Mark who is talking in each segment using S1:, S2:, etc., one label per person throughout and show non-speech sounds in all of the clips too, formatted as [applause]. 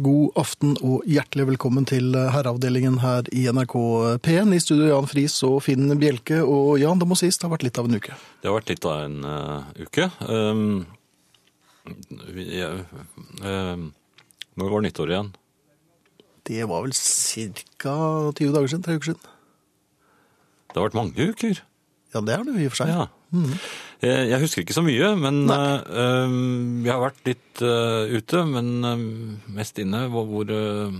S1: God aften og hjertelig velkommen til eh, herreavdelingen her i NRK P1. I studio Jan Friis og Finn Bjelke. Og Jan, det må sies, det har vært litt av en uke.
S2: Det har vært litt av en eh, uke. Ehm, vi- jeg- ehm, når var nyttår igjen?
S1: Det var vel ca. 20 dager siden? Tre uker siden?
S2: Det har vært mange uker.
S1: Ja, Mm. det er det jo i og for seg.
S2: Ja. Eh, Jeg, jeg husker ikke så mye, men eh, ehm, jeg har vært litt eh, ute, men ehm, mest inne. Hvor, hvor, eh,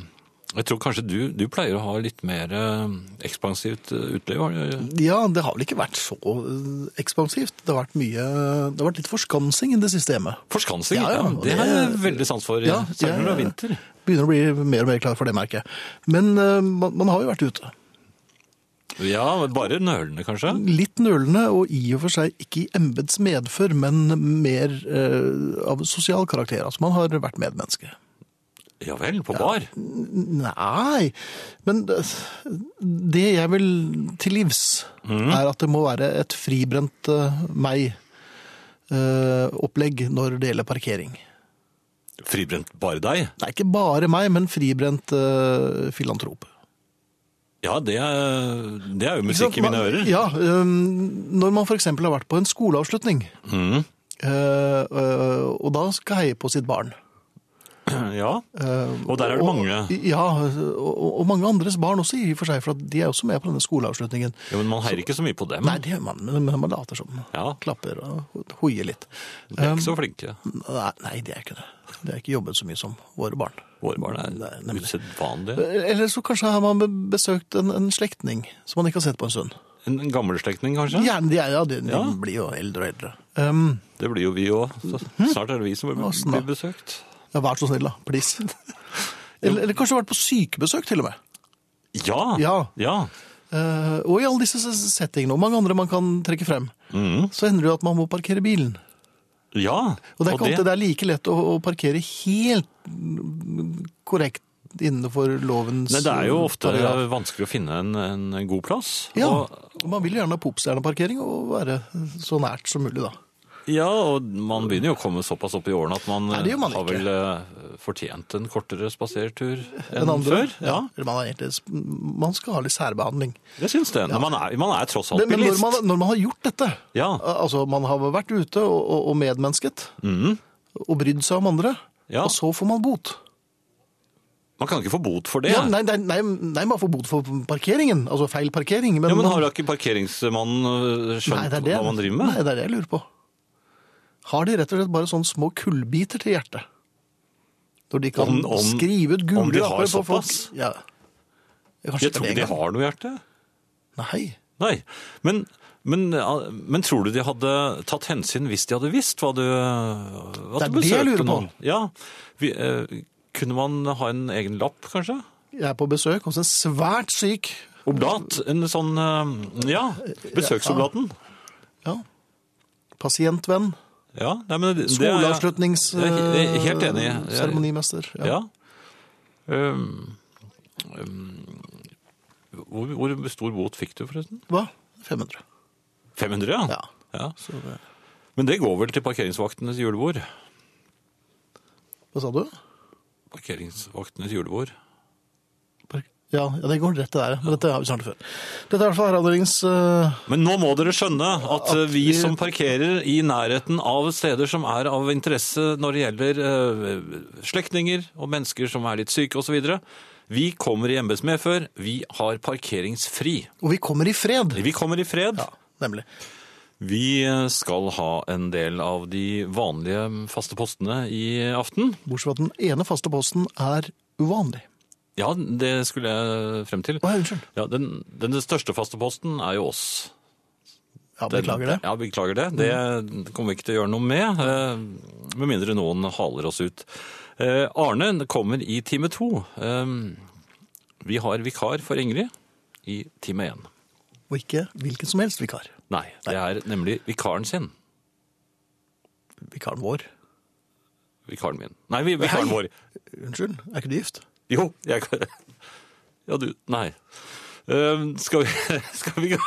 S2: jeg tror kanskje du, du pleier å ha litt mer eh, ekspansivt eh, uteliv? har du-
S1: Ja, det har vel ikke vært så øh, ekspansivt. Det har vært mye Det har vært litt forskansing i det siste hjemme.
S2: Forskansing,
S1: Ja,
S2: ja,
S1: ja,
S2: det har jeg
S1: det-
S2: veldig sans for.
S1: Ja,
S2: Særlig når det er
S1: jeg-
S2: vinter.
S1: Begynner å bli mer og mer klar for det, merker jeg. Men øh, man, man har jo vært ute.
S2: Ja, men bare nølende kanskje?
S1: Litt nølende, og i og for seg ikke i embets medfør, men mer eh, av sosial karakter. Altså, man har vært medmenneske.
S2: Ja vel, på bar?
S1: Nei, men det det jeg vil til livs,
S2: Mm.
S1: er at det må være et fribrent eh, meg-opplegg når det gjelder parkering.
S2: Fribrent bare deg?
S1: Det er ikke bare meg, men fribrent eh, filantrop.
S2: Ja, det er, det er jo
S1: Ikke sant?
S2: musikk i mine
S1: Man-
S2: ører.
S1: Ja, øhm, når man for eksempel har vært på en skoleavslutning,
S2: Mhm.
S1: øh, øh, og da skal heie på sitt barn.
S2: [clears throat] ja.
S1: Øh,
S2: Og der er det mange.
S1: Ja, og, og mange andres barn også i og for seg, for at de er også med på denne skoleavslutningen.
S2: ja, men man heier ikke så mye på dem.
S1: Nei, det gjør man, men men man later som.
S2: Ja.
S1: Klapper og hoier litt. Eh,
S2: De er ikke så flinke.
S1: Nei, nei, det er ikke det. Det er ikke jobbet så mye som våre barn.
S2: Våre barn
S1: Nei,
S2: er
S1: nemlig.
S2: usedvanlige.
S1: Eller så kanskje har man be- besøkt en, en slektning som man ikke har sett på en stund.
S2: En en gammel slektning, kanskje?
S1: Gjerne, de, er, ja, de, de
S2: Ja.
S1: blir jo eldre og eldre. Um,
S2: Det blir jo vi òg.
S1: Hm?
S2: Snart er det vi som blir,
S1: Åssen da?
S2: blir besøkt.
S1: Ja, vær så snill, da.
S2: [laughs]
S1: Please. Eller, eller kanskje vært på sykebesøk, til og med.
S2: Ja!
S1: Ja.
S2: ja.
S1: Eh, og i alle disse s- settingene, og mange andre man kan trekke frem,
S2: Mhm.
S1: så hender det jo at man må parkere bilen. Og
S2: ja.
S1: det er ikke alltid det er like lett å, å parkere helt mm, korrekt innenfor lovens
S2: Nei, det er jo
S1: eh,
S2: ofte
S1: paragraf.
S2: vanskelig å finne en, en god plass.
S1: Ja,
S2: Og,
S1: og man vil jo gjerne ha popstjerneparkering og være så nært som mulig, da.
S2: ja, og man begynner jo å komme såpass opp i årene at man,
S1: Nei, det gjør man
S2: har
S1: ikke.
S2: vel eh, fortjent en kortere spasertur enn
S1: Den andre-
S2: før. Ja,
S1: Eller man, er egentlig, man skal ha litt særbehandling.
S2: Jeg syns det. Når Man, er, man er tross alt
S1: Men, men når,
S2: bilist.
S1: man, når man har gjort dette,
S2: Ja.
S1: al- altså man har vært ute og, og, og medmennesket,
S2: Mhm.
S1: og brydd seg om andre,
S2: Ja.
S1: og så får man bot.
S2: Man kan ikke få bot for det.
S1: Ja,
S2: Ja,
S1: nei, nei, nei, nei, man får bot for parkeringen, altså feil parkering. Men,
S2: men
S1: man-
S2: har da ikke parkeringsmannen øh,
S1: Nei,
S2: skjønt
S1: det er det.
S2: hva man driver med?
S1: Nei, det er det jeg lurer på. Har de rett og slett bare sånne små kullbiter til hjertet? Når de kan
S2: Om- om-
S1: skrive ut gule
S2: om de har
S1: lapper på folk?
S2: såpass?
S1: Ja. Jeg,
S2: Jeg tror ikke de har noe hjerte.
S1: Nei.
S2: Nei. Men, men, ja, men tror du de hadde tatt hensyn hvis de hadde visst hva du øh, at
S1: Det er
S2: du
S1: det jeg
S2: besøkte
S1: lurer på.
S2: noen? Ja. Vi, øh, kunne man ha en egen lapp, kanskje?
S1: Jeg er på besøk hos en svært syk
S2: Oblat? En sånn øh, Ja, besøksoblaten.
S1: ja, pasientvenn.
S2: Ja, nei, men det, det er jeg- jeg er he- helt
S1: eh,
S2: enig. i. Jeg-
S1: Skoleavslutningsseremonimester.
S2: Ja. Øhm, øhm, Ehm, hvor, hvor stor bot fikk du, forresten?
S1: Hva? 500.
S2: 500, ja.
S1: Ja.
S2: Ja.
S1: Så eh, det...
S2: Men det går vel til parkeringsvaktenes julebord?
S1: Hva sa du?
S2: Parkeringsvaktenes julebord.
S1: Park- Ja, ja, det går rett til der. Men dette har vi snart før. Dette er i hvert fall herreavdelingens eh,
S2: Men nå må dere skjønne at,
S1: At
S2: eh, vi
S1: vi-
S2: som parkerer i nærheten av steder som er av interesse når det gjelder eh, slektninger og mennesker som er litt syke osv., vi kommer i embets medfør. Vi har parkeringsfri.
S1: Og vi kommer i fred.
S2: Vi kommer i fred.
S1: Ja, nemlig.
S2: Vi skal ha en del av de vanlige faste postene i aften.
S1: Bortsett fra at den ene faste posten er uvanlig.
S2: Ja, det skulle jeg frem til.
S1: Å, ja, unnskyld.
S2: Ja, den, den største faste posten er jo oss.
S1: Ja,
S2: Den-
S1: beklager det. Mm.
S2: Ja, beklager det. Det kommer vi ikke til å gjøre noe med, eh, med mindre noen haler oss ut. Eh, Arne kommer i time to. Eh, Vi har vikar for Ingrid i time én.
S1: Og ikke hvilken som helst vikar.
S2: Nei, det er nemlig vikaren sin.
S1: Vikaren vår.
S2: Vikaren min. Nei, vi- vikaren
S1: Hei.
S2: vår.
S1: Unnskyld, er ikke du gift?
S2: Jo, jeg kan Ja, du [laughs] Nei. Ehm, skal vi Skal vi gå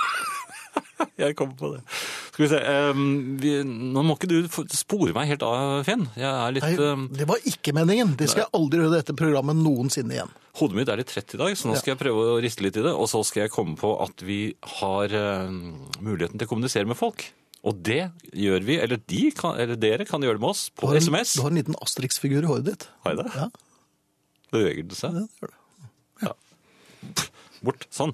S2: Jeg kom på det. Skal vi se ehm, vi, Nå må ikke du f- spore meg helt av, Finn. Jeg er litt,
S1: Nei,
S2: ehm,
S1: det var ikke meningen. Det skal jeg aldri gjøre i dette programmet noensinne igjen.
S2: hodet mitt er litt trett i dag, så nå skal jeg prøve å riste litt i det. Og så skal jeg komme på at vi har ehm, muligheten til å kommunisere med folk. Og det gjør vi, eller, de kan, eller dere kan gjøre det med oss
S1: Du
S2: på
S1: har en,
S2: SMS.
S1: du har en liten Asterix-figur i håret ditt.
S2: Har jeg det?
S1: Ja,
S2: Beveger det seg?
S1: det gjør du.
S2: Bort. Sånn.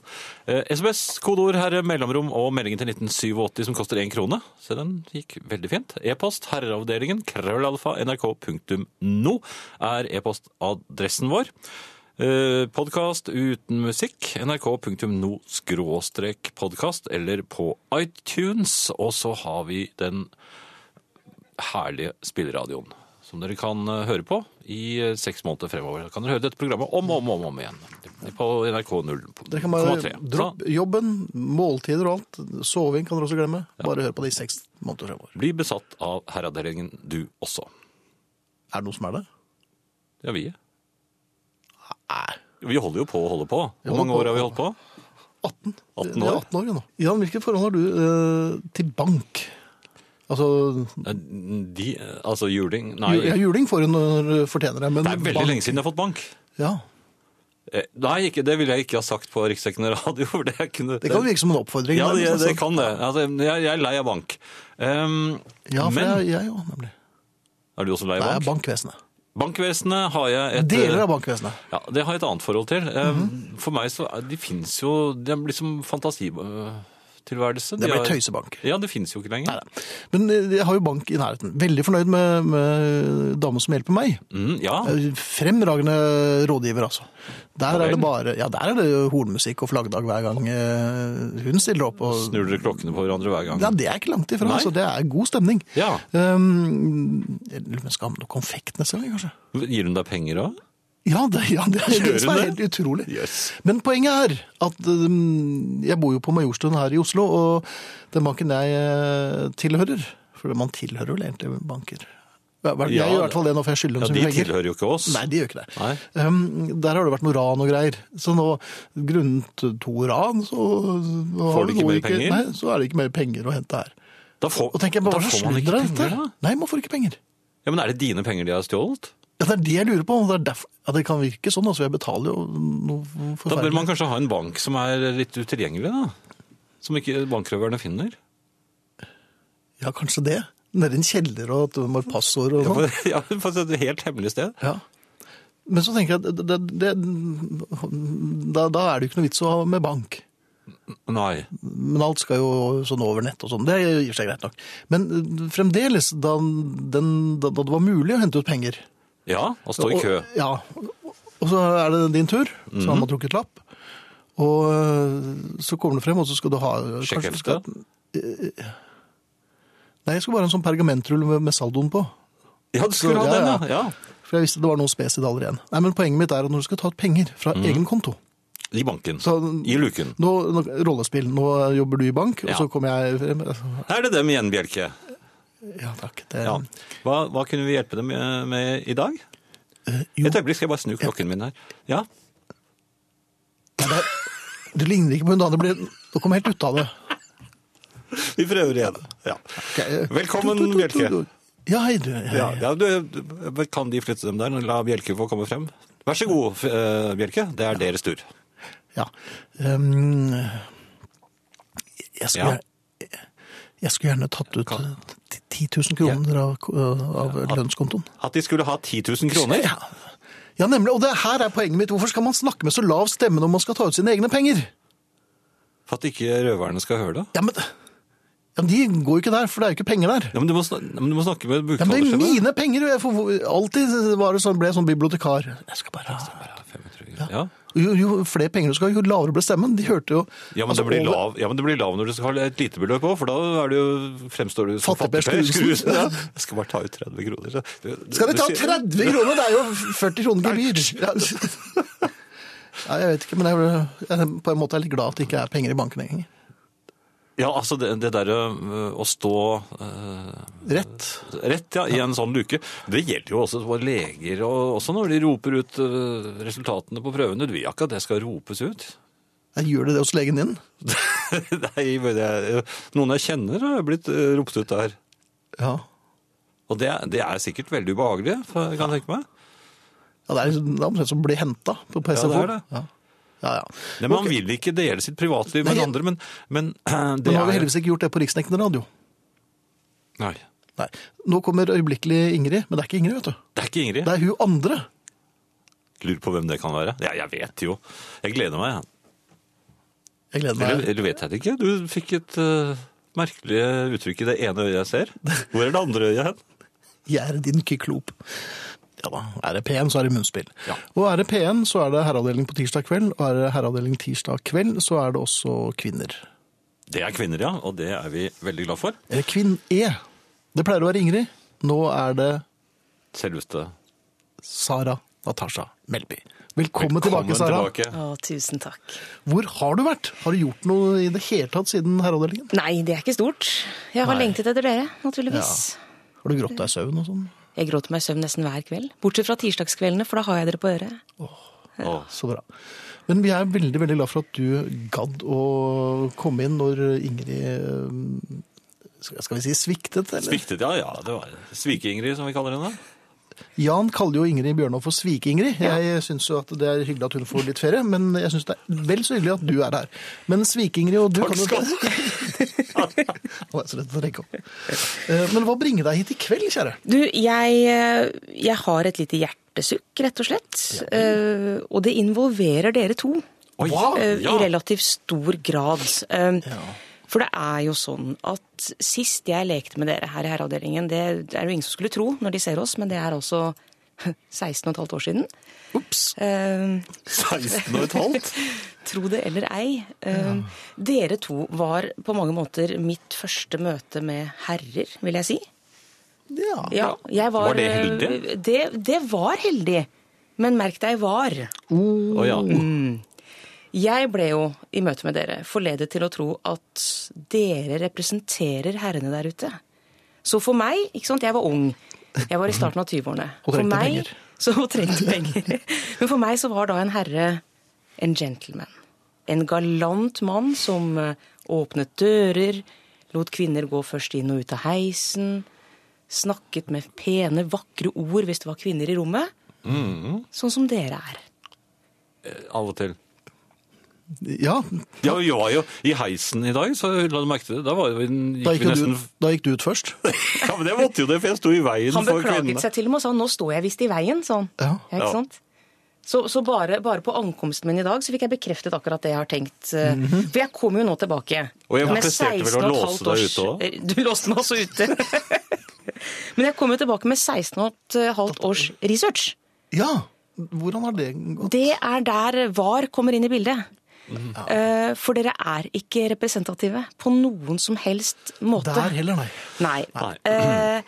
S2: Eh, SMS, kodeord herre, mellomrom og meldingen til 1987 som koster én krone. Så den gikk veldig fint. E-post herreavdelingen krøllalfa nrk.no er e-postadressen vår. Eh, Podkast uten musikk, nrk.no skråstrek podkast, eller på iTunes. Og så har vi den herlige spilleradioen, som dere kan eh, høre på i eh, seks måneder fremover. Da kan dere høre dette programmet om og om, og om igjen på NRK 0,3.
S1: Dere kan bare droppe jobben, måltider og alt. Soving kan dere også glemme. Bare hør på det i seks måneder fremover.
S2: Bli besatt av herreavdelingen, du også.
S1: Er det noe som er det?
S2: Ja, vi. Vi holder jo på og holder på.
S1: holder
S2: Hvor mange
S1: på
S2: år har vi
S1: å
S2: holdt på?
S1: 18.
S2: 18
S1: Det er
S2: år.
S1: 18 år ja, nå. Jan, hvilke forhold har du eh, til bank? Altså,
S2: Eh, De, eh, altså juling Nei,
S1: ju- ja, juling får du når du fortjener det, men
S2: det er veldig lenge siden jeg har fått bank.
S1: Ja,
S2: Eh, Nei, ikke, det ville jeg ikke ha sagt på riksdekkende radio. [laughs] For det, kunne,
S1: det kan virke som en oppfordring.
S2: Ja, det,
S1: nærmest, altså.
S2: det kan det. Altså, jeg, jeg er lei av bank. Ehm,
S1: Ja, for
S2: men
S1: jeg- jeg òg, nemlig.
S2: er du også lei av
S1: Det er
S2: bank?
S1: bankvesenet.
S2: Bankvesenet har jeg et eh,
S1: Deler av Mhm. bankvesenet.
S2: Ja, det har jeg et annet forhold til. Eh, For meg så er- de finnes jo De er liksom fantasitilværelse.
S1: Det blir tøysebank.
S2: Ja, det finnes jo ikke lenger.
S1: Men eh, jeg har jo bank i nærheten. Veldig fornøyd med, med damen som hjelper meg. Eh,
S2: Mm, ja,
S1: Fremragende rådgiver, altså. Der
S2: vel.
S1: er det bare Ja, der er det jo hornmusikk og flaggdag hver gang eh, hun stiller opp. Og,
S2: snur dere klokkene på hverandre hver gang.
S1: ja, det er ikke langt ifra,
S2: Nei.
S1: altså. Det er god stemning.
S2: Ja.
S1: Um, jeg lurer på om jeg skal ha med noe konfekt neste gang, kanskje?
S2: Gir hun deg penger òg?
S1: Ja, det, ja, det er
S2: Gjør
S1: det som
S2: hun
S1: er
S2: det?
S1: helt utrolig.
S2: Yes.
S1: Men poenget er at um, jeg bor jo på Majorstuen her i Oslo, og den banken jeg eh, tilhører For man tilhører vel egentlig banker. Jeg, jeg
S2: Ja,
S1: gjør i hvert fall det nå, for jeg skylder dem
S2: Ja,
S1: så
S2: de
S1: mye penger.
S2: tilhører jo ikke oss.
S1: Nei, de gjør ikke det.
S2: Nei.
S1: Um, der har det vært noe ran og greier. Så nå, grunnet to ran, så nå
S2: Får
S1: har
S2: du
S1: du
S2: ikke
S1: nå
S2: mer penger?
S1: Nei, så er det ikke mer penger å hente her.
S2: Da får,
S1: Og tenker jeg,
S2: da
S1: bare, hva
S2: får
S1: slags sludder
S2: man ikke
S1: er dette?
S2: penger, da.
S1: Nei, man får ikke penger.
S2: Ja, men er det dine penger de har stjålet?
S1: Ja, det er det jeg lurer på. og Det, er derfor, ja, det kan virke sånn, altså. Jeg betaler jo noe
S2: Da bør
S1: forferdelig.
S2: man kanskje ha en bank som er litt utilgjengelig, da. Som ikke bankrøverne finner.
S1: Ja, kanskje det. Nede i en kjeller og at du må ha passord og
S2: Ja,
S1: sånn.
S2: for- [laughs] ja, for et helt hemmelig sted.
S1: Ja. Men så tenker jeg at det, det, det, da, da er det jo ikke noe vits å ha med bank.
S2: Nei.
S1: Men alt skal jo sånn over nett og sånn. Det er i og for seg greit nok. Men eh, fremdeles, da, den, da, da det var mulig å hente ut penger
S2: Ja, og stå i
S1: og-
S2: kø. Mhm.
S1: Ja. Og så er det din tur, så har man trukket lapp. Og eh, så kommer det frem, og så skal du ha
S2: Sjekk
S1: kanskje du skal-
S2: heftet.
S1: Nei, jeg skulle bare ha en sånn pergamentrull med, med saldoen på.
S2: Ja, du skulle
S1: Så-
S2: ha
S1: ja,
S2: den, ja.
S1: ja.
S2: ja.
S1: For jeg visste det var noen spesidaler igjen. Nei, men Poenget mitt er at når du skal ta ut penger fra egen konto
S2: I banken.
S1: så,
S2: Mhm. I luken.
S1: nå, nå, Rollespill. Nå jobber du i bank,
S2: Ja.
S1: og så kommer jeg frem.
S2: Er det dem igjen, Bjelke?
S1: Ja takk. Det,
S2: Ja. Hva, hva kunne vi hjelpe dem med, med i dag?
S1: Eh, jo.
S2: Et øyeblikk skal jeg bare snu klokken min her. Ja,
S1: Du ligner ikke på hun da. Det blir, nå kom jeg helt ut av det.
S2: Vi prøver igjen. Ja.
S1: Ok, eh,
S2: Velkommen,
S1: tu, tu, tu, tu,
S2: Bjelke.
S1: tu. Ja, hei, du. Hei.
S2: Ja, ja, du, du- kan de flytte dem der? La Bjelke få komme frem. Vær så god, f- eh, Bjelke. Det er deres tur.
S1: Ja. Ehm, jeg, skulle,
S2: Ja.
S1: jeg skulle gjerne tatt ut
S2: Kan-
S1: eh, 10 000 kroner av, av lønnskontoen.
S2: At de skulle ha 10 000 kroner?
S1: Ja. ja, nemlig. Og det her er poenget mitt. Hvorfor skal man snakke med så lav stemme når man skal ta ut sine egne penger?
S2: For at ikke røverne skal høre det?
S1: Ja, men, ja, men de går jo ikke der, for det er jo ikke penger der.
S2: Ja, men du må, snak- men du må snakke med
S1: Ja, men det er
S2: bokholderstemme.
S1: mine penger! og Jeg får, alltid var det sånn, ble jeg sånn bibliotekar. Jeg skal bare ha
S2: Ja.
S1: jo, jo flere penger du skal ha, jo lavere ble stemmen. De hørte jo
S2: Ja, men
S1: altså,
S2: det blir
S1: over-
S2: lav, ja, men det blir lav når du skal ha et lite beløp òg, for da er det jo, fremstår du som
S1: Fattigper
S2: fattigper. [laughs]
S1: Skruesen.
S2: Skruesen, Ja. Jeg skal bare ta ut 30 kroner. så- du-
S1: Skal de
S2: du
S1: ta
S2: sier-
S1: 30 kroner? Det er jo 40 kroner gebyr. Ja. [laughs] Nei, jeg vet ikke, men jeg, jeg, på en måte er jeg litt glad at det ikke er penger i banken engang.
S2: Ja, altså det, det derre øh, å stå øh,
S1: Rett.
S2: rett ja, i en sånn luke, det gjelder jo også for leger, og også når de roper ut øh, resultatene på prøvene. Du vil ikke at det skal ropes ut. [laughs]
S1: Jeg gjør det det hos legen din?
S2: Nei, men jeg, noen jeg kjenner har blitt eh, ropt ut der.
S1: Ja.
S2: Og det, er- det er sikkert veldig ubehagelig, for- kan jeg tenke meg.
S1: ja det er liksom- det er omtrent som å bli henta på
S2: Ja,
S1: PSFO.
S2: det er det.
S1: Ja. Ja, ja.
S2: Nei, men
S1: Ok.
S2: Man vil ikke dele sitt privatliv med
S1: Nei.
S2: andre, men, men [clears throat] eh, det
S1: Men nå har vi
S2: er
S1: heldigvis ikke gjort det på Riksdekkende radio.
S2: Nei.
S1: Nei. Nå kommer øyeblikkelig Ingrid, men det er ikke Ingrid, vet du.
S2: Det er ikke Ingrid.
S1: Det er hun andre.
S2: Lurer på hvem det kan være. Ja, jeg vet jo. Jeg gleder meg.
S1: Jeg gleder
S2: Eller,
S1: meg.
S2: eller vet jeg det ikke? Du fikk et eh, merkelig uttrykk i det ene øyet jeg ser. Hvor er det andre øyet hen?
S1: Jeg er din kyklop. Ja da. Er det P1, så er det munnspill.
S2: Ja.
S1: Og er det P1, så er det herreavdeling på tirsdag kveld. Og er det herreavdeling tirsdag kveld, så er det også kvinner.
S2: Det er kvinner, ja. Og det er vi veldig glad for.
S1: Eller Kvinn-E. Det pleier å være Ingrid. Nå er det
S2: Selveste.
S1: Sara Natasha Melby. Velkommen, tilbake, Sara.
S2: tilbake.
S3: Å, tusen takk.
S1: Hvor har du vært? Har du gjort noe i det hele tatt siden herreavdelingen?
S3: Nei, det er ikke stort. Jeg har
S1: Nei.
S3: lengtet etter dere, naturligvis.
S1: Har du grått deg i søvn og sånn?
S3: Jeg gråter meg i søvn nesten hver kveld. Bortsett fra tirsdagskveldene, for da har jeg dere på øret.
S2: Å,
S1: Så bra. Men vi er veldig veldig glad for at du gadd å komme inn når Ingrid eh, Skal skal vi si sviktet, eller?
S2: Sviktet, ja. ja det var Svike-Ingrid, som vi kaller henne.
S1: Jan kaller jo Ingrid Bjørnov for Svike-Ingrid. Jeg syns jo at det er hyggelig at hun får litt ferie, men jeg syns det er vel så hyggelig at du er her. Men Svike-Ingrid og du
S2: Takk skal
S1: du [laughs] Nå er jeg så redd for å rekke opp. Eh, Men hva bringer deg hit i kveld, kjære?
S3: Du, jeg, eh, jeg har et lite hjertesukk, rett og slett. Eh, og det involverer dere to
S2: Oi,
S1: Hva?
S3: eh,
S2: ja.
S3: i relativt stor grad. Eh, For det er jo sånn at sist jeg lekte med dere her i herreavdelingen, det det er jo ingen som skulle tro når de ser oss, men det er altså [laughs] 16 15 år siden.
S1: Ops.
S3: Eh,
S2: 16 og et halvt?
S3: Tro det eller ei. eh, Dere to var på mange måter mitt første møte med herrer, vil jeg si.
S1: Ja.
S3: Ja, jeg var,
S2: Var det heldig?
S3: eh, Det, det var heldig. Men merk deg var.
S2: Å ja.
S1: Mm.
S3: Jeg ble jo i møte med dere forledet til å tro at dere representerer herrene der ute. Så for meg ikke sant, Jeg var ung. Jeg var i starten av 20-årene.
S1: Og
S3: For
S1: trengte
S3: meg-
S1: penger.
S3: [laughs] Så hun trengte penger. Men for meg så var da en herre en gentleman. En galant mann som eh, åpnet dører, lot kvinner gå først inn og ut av heisen, snakket med pene, vakre ord hvis det var kvinner i rommet.
S1: Mm.
S3: Sånn som dere er.
S2: Eh, Av og til.
S1: ja.
S2: Ja, vi var jo i heisen i dag, så la du merke til det. Da var vi, gikk
S1: Da, gikk
S2: vi
S1: jo
S2: nesten
S1: du, da gikk du ut først.
S2: Ja, men det måtte jo det, for jeg sto i veien
S3: Han
S2: for
S3: beklaget
S2: kvinnene.
S3: seg til og med og sa 'nå står jeg visst i veien'. Sånn.
S1: Ja.
S3: ikke
S2: Ja.
S3: sant? Så, så bare, bare på ankomsten min i dag så fikk jeg bekreftet akkurat det jeg har tenkt. eh, For jeg kom jo nå tilbake.
S2: Og jeg
S3: med
S2: presterte vel å
S3: 16 og et
S2: låse
S3: halvt
S2: deg
S3: års- Eh,
S2: ute også?
S3: Du låste meg også ute. [laughs] Men jeg kom jo tilbake med 16 og et eh, halvt års research.
S1: Ja. Hvordan har det gått?
S3: Det er der VAR kommer inn i bildet. Eh, For dere er ikke representative på noen som helst måte.
S1: Der heller, nei.
S3: Nei.
S2: Nei.
S3: Eh,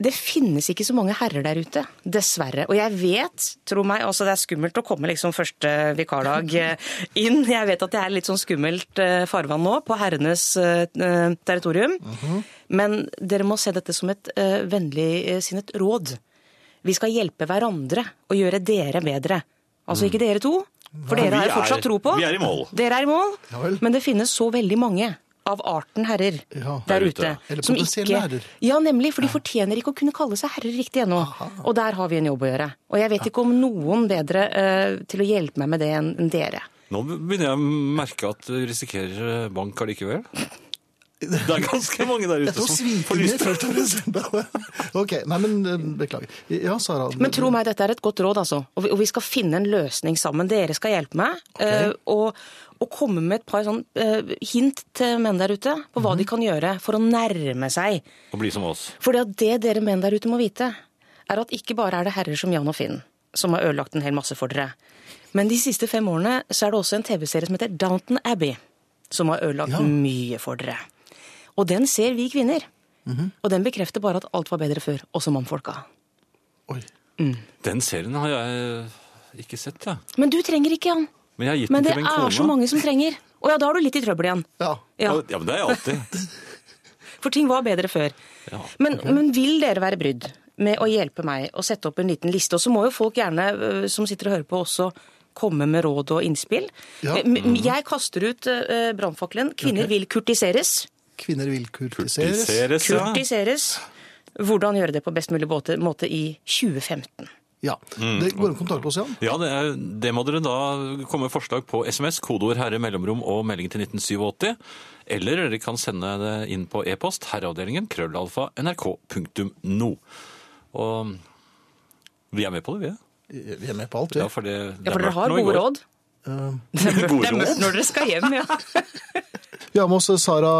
S3: det finnes ikke så mange herrer der ute, dessverre. Og jeg vet, tro meg, altså det er skummelt å komme liksom første vikardag eh, inn. Jeg vet at det er litt sånn skummelt eh, farvann nå, på herrenes eh, eh, territorium.
S2: Mhm.
S3: Men dere må se dette som et eh, vennligsinnet råd. Vi skal hjelpe hverandre og gjøre dere bedre. Altså ikke dere to, for dere
S2: Mm.
S3: har jeg
S2: vi er-
S3: fortsatt tro på.
S2: vi er i mål.
S3: Dere er i mål,
S1: Ja vel.
S3: men det finnes så veldig mange av arten herrer
S1: Ja.
S3: der
S2: Der ute,
S3: ute.
S2: ja.
S1: Eller
S3: som
S1: potensielle herrer.
S3: Ja, nemlig, for de fortjener ikke å kunne kalle seg herrer riktig ennå. Og der har vi en jobb å gjøre. Og jeg vet ikke om noen bedre eh, til å hjelpe meg med det enn enn dere.
S2: Nå begynner jeg å merke at vi risikerer eh, bank allikevel. Det er ganske mange der
S1: Jeg
S2: ute
S1: tror
S2: som får
S1: svikingen
S2: lyst til
S1: først og fremst. [laughs] Ok, nei, men eh, beklager. Ja, Sara.
S3: Men tro meg, dette er et godt råd, altså. Og vi, og vi skal finne en løsning sammen. Dere skal hjelpe meg. eh, og, og komme med et par sånn eh, hint til menn der ute på
S1: Mhm.
S3: hva de kan gjøre for å nærme seg.
S2: å bli som oss.
S3: Fordi at det dere menn der ute må vite, er at ikke bare er det herrer som Jan og Finn som har ødelagt en hel masse for dere. Men de siste fem årene så er det også en TV-serie som heter Downton Abbey, som har ødelagt
S1: Ja.
S3: mye for dere. Og den ser vi kvinner. Og den bekrefter bare at alt var bedre før, også mannfolka.
S1: Oi.
S2: Den serien har jeg eh, ikke sett, jeg.
S3: Men du trenger ikke, Jan.
S2: Men jeg har gitt
S3: Men
S2: den
S3: det
S2: til min kone.
S3: er så mange som trenger. Å ja, da er du litt i trøbbel igjen.
S1: Ja.
S2: Ja.
S3: Ja,
S2: ja, men det er jeg alltid.
S3: For ting var bedre før.
S2: Ja.
S3: Men, men vil dere være brydd med å hjelpe meg å sette opp en liten liste? Og så må jo folk gjerne, øh, som sitter og hører på, også komme med råd og innspill.
S1: Ja.
S3: Eh, m- Jeg kaster ut eh, brannfakkelen. Kvinner vil kurtiseres.
S1: Kvinner vil kurtiseres.
S2: Kurtiseres, ja.
S3: Kurtiseres. Hvordan gjøre det på best mulig måte, måte i 2015.
S1: Ja. Det går an å kontakte oss, Jan.
S2: Ja, det, er, det må dere da komme med forslag på SMS, kodeord 'herre', mellomrom og melding til 1987. Eller dere kan sende det inn på e-post herreavdelingen krøllalfa nrk.no. Og vi er med på det, vi. er.
S1: Vi er med på alt,
S2: Ja,
S1: vi.
S2: for det,
S3: Ja,
S2: det
S3: for
S2: er
S3: dere
S2: mørkt
S3: har
S2: nå i
S3: gode
S2: går.
S3: råd.
S2: [laughs] Gode
S3: Det er mørkt
S2: råd?
S3: når dere skal hjem, ja.
S2: [laughs]
S1: Vi har med oss eh, Sara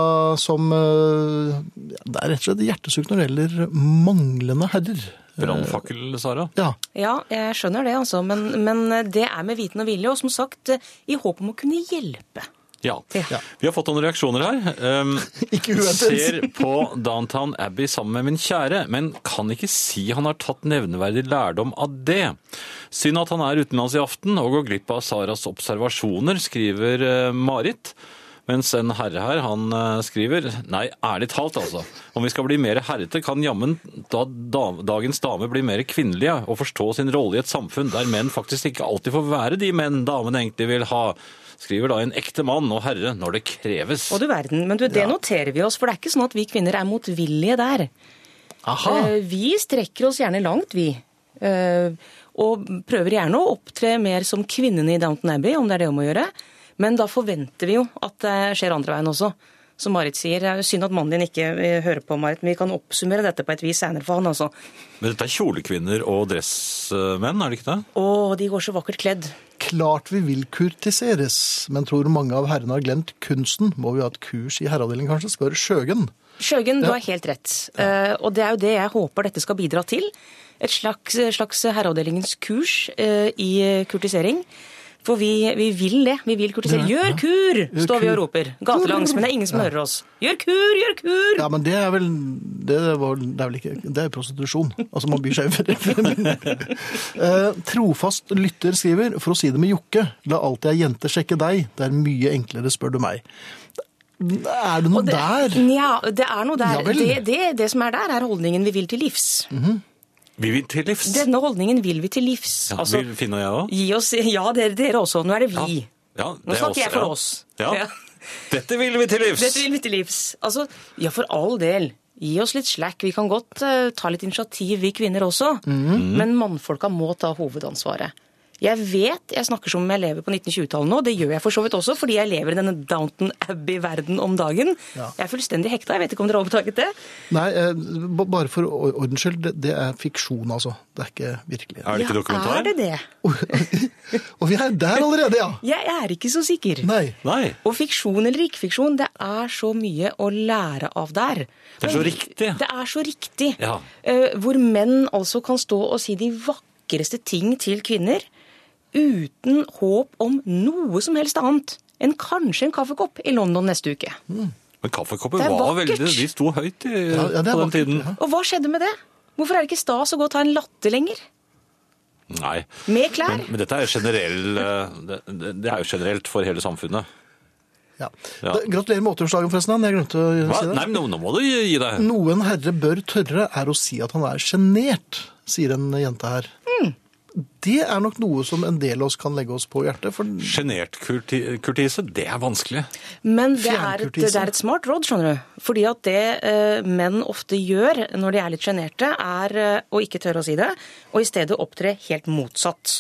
S1: som eh, ja, Det er rett og slett hjertesukk når det gjelder manglende herrer.
S2: Brannfakkel, Sara.
S1: Ja.
S3: Ja, jeg skjønner det, altså. Men, men det er med viten og vilje, og som sagt, øh, i håp om å kunne hjelpe.
S2: Ja.
S3: Ja.
S2: Vi har fått noen reaksjoner
S3: [laughs]
S2: her. Um,
S1: Ikke uventet.
S2: Ser på Downtown Abbey sammen med min kjære, men kan ikke si han har tatt nevneverdig lærdom av det. Synd at han er utenlands i aften og går glipp av Saras observasjoner, skriver eh, Marit. Mens en herre her, han eh, skriver Nei, ærlig talt, altså. Om vi skal bli mer herrete, kan jammen da, da dagens dame bli mer kvinnelige og forstå sin rolle i et samfunn der menn faktisk ikke alltid får være de menn damene egentlig vil ha. Skriver da en ekte mann og herre når det kreves.
S3: Og du verden, men du, det noterer vi oss, for det er ikke sånn at vi kvinner er motvillige der.
S1: Aha!
S2: Ah.
S3: Eh, Vi strekker oss gjerne langt, vi. Eh, Og prøver gjerne å opptre mer som kvinnene i Downton Abbey, om det er det om å gjøre. Men da forventer vi jo at det skjer andre veien også. Som Marit sier, det er jo synd at mannen din ikke eh, hører på, Marit, men vi kan oppsummere dette på et vis seinere for han, altså.
S2: Men dette er kjolekvinner og dressmenn, er det ikke det?
S3: Å, de går så vakkert kledd.
S1: Klart vi vil kurtiseres, men tror mange av herrene har glemt kunsten. Må vi ha et kurs i herreavdelingen, kanskje? Spør Sjøgen.
S3: Sjøgen, du har helt rett. Eh, og det er jo det jeg håper dette skal bidra til. Et slags, eh, slags herreavdelingens kurs eh, i kurtisering. For vi, vi vil det. Vi vil kurtisere. Gjør kur! står vi og
S1: kur.
S3: roper. Gatelangs, men det er ingen som hører oss. Gjør kur! Gjør kur!
S1: Ja, men det er vel Det, var, det er vel ikke Det er prostitusjon. Altså, man byr seg over. Eh, Trofast lytter skriver, for å si det med Jokke, la alltid ei jente sjekke deg. Det er mye enklere, spør du meg. Er det noe der?
S3: Nja, det er noe der.
S1: Ja vel.
S3: det, det, det som er der, er holdningen vi vil til livs.
S2: Vi vil til livs.
S3: Denne holdningen vil vi til livs.
S2: Ja,
S3: altså,
S2: vil Finn og jeg òg?
S3: gi oss Ja, dere, dere også. Nå er det vi.
S2: Ja,
S3: Nå
S2: det er
S3: snakker jeg for
S2: ja.
S3: oss.
S2: Ja.
S3: Ja.
S2: Dette vil vi til livs!
S3: Dette vil vi til livs. Altså, ja, for all del. Gi oss litt slack. Vi kan godt eh, ta litt initiativ, vi kvinner også. Men mannfolka må ta hovedansvaret. Jeg vet jeg snakker som om jeg lever på 1920-tallet nå. Det gjør jeg for så vidt også, fordi jeg lever i denne Downton Abbey-verden om dagen.
S1: Ja.
S3: Jeg er fullstendig hekta. Jeg vet ikke om dere har oppdaget det?
S1: Nei, eh, b- bare for or- ordens skyld, det, det er fiksjon, altså. Det er ikke virkelig.
S2: Er det ikke
S3: Ja,
S2: dokumentar?
S3: Er det det?
S1: Og vi er der allerede, ja!
S3: Jeg er ikke så sikker.
S1: Nei.
S2: Nei.
S3: Og fiksjon eller ikke-fiksjon, det er så mye å lære av der.
S2: Det er så
S3: Men-
S2: riktig.
S3: Det er så riktig.
S2: Ja.
S3: Eh, Hvor menn altså kan stå og si de vakreste ting til kvinner uten håp om noe som helst annet enn kanskje en kaffekopp i London neste uke.
S2: Mm. Men kaffekopper
S3: Det er
S2: var
S3: vakkert.
S2: veldig De sto høyt i,
S1: Ja, ja, det er
S2: på den
S1: vakkert,
S2: tiden.
S1: ja.
S3: Og hva skjedde med det? Hvorfor er det ikke stas å gå og ta en latte lenger?
S2: Nei.
S3: Med klær?
S2: Men, men dette er generell, eh, det, det det er jo generelt for hele samfunnet.
S1: Ja.
S2: Ja.
S1: Da- Gratulerer med 80-årsdagen, forresten. Ann. Jeg glemte å
S2: Hva?
S1: si det.
S2: Nei, men nå, nå må du gi gi deg.
S1: Noe en herre bør tørre, er å si at han er sjenert, sier en jente her.
S3: Mm.
S1: Det er nok noe som en del av oss kan legge oss på hjertet. For
S2: Sjenert kurti, kurtise, det er vanskelig.
S3: Men det er, et,
S1: Fjernkurtise.
S3: det er et smart råd, skjønner du. Fordi at det eh, menn ofte gjør når de er litt sjenerte, er eh, å ikke tørre å si det, og i stedet opptre helt motsatt.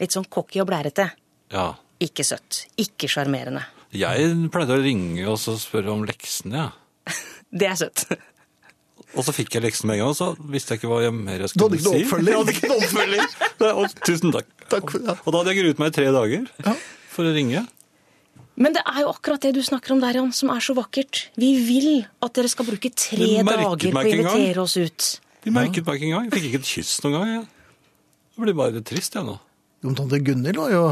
S3: Litt sånn cocky og blærete.
S2: Ja.
S3: Ikke søtt. Ikke sjarmerende.
S2: Jeg pleide å ringe og så spørre om leksene, jeg.
S3: Det er søtt. [laughs]
S2: Og så fikk jeg leksen med en gang, og så visste jeg ikke hva jeg mer
S1: du
S2: jeg skulle
S1: hadde
S2: si.
S1: ikke noe oppfølging.
S2: [laughs] Jeg hadde ikke
S1: [laughs]
S2: noe oppfølging. Det- Og tusen takk.
S1: Takk for- ja.
S2: Og da hadde jeg gruet meg i tre dager for å ringe.
S3: Men det er jo akkurat det du snakker om der, Jan, som er så vakkert. Vi vil at dere skal bruke tre
S2: Du merket
S3: dager på
S2: meg
S3: å
S2: ikke engang.
S3: invitere oss ut.
S2: De merket meg ikke engang. Jeg fikk ikke et kyss noen gang. Jeg, jeg blir bare trist, jeg nå.
S1: Jo, men tante Gunhild var jo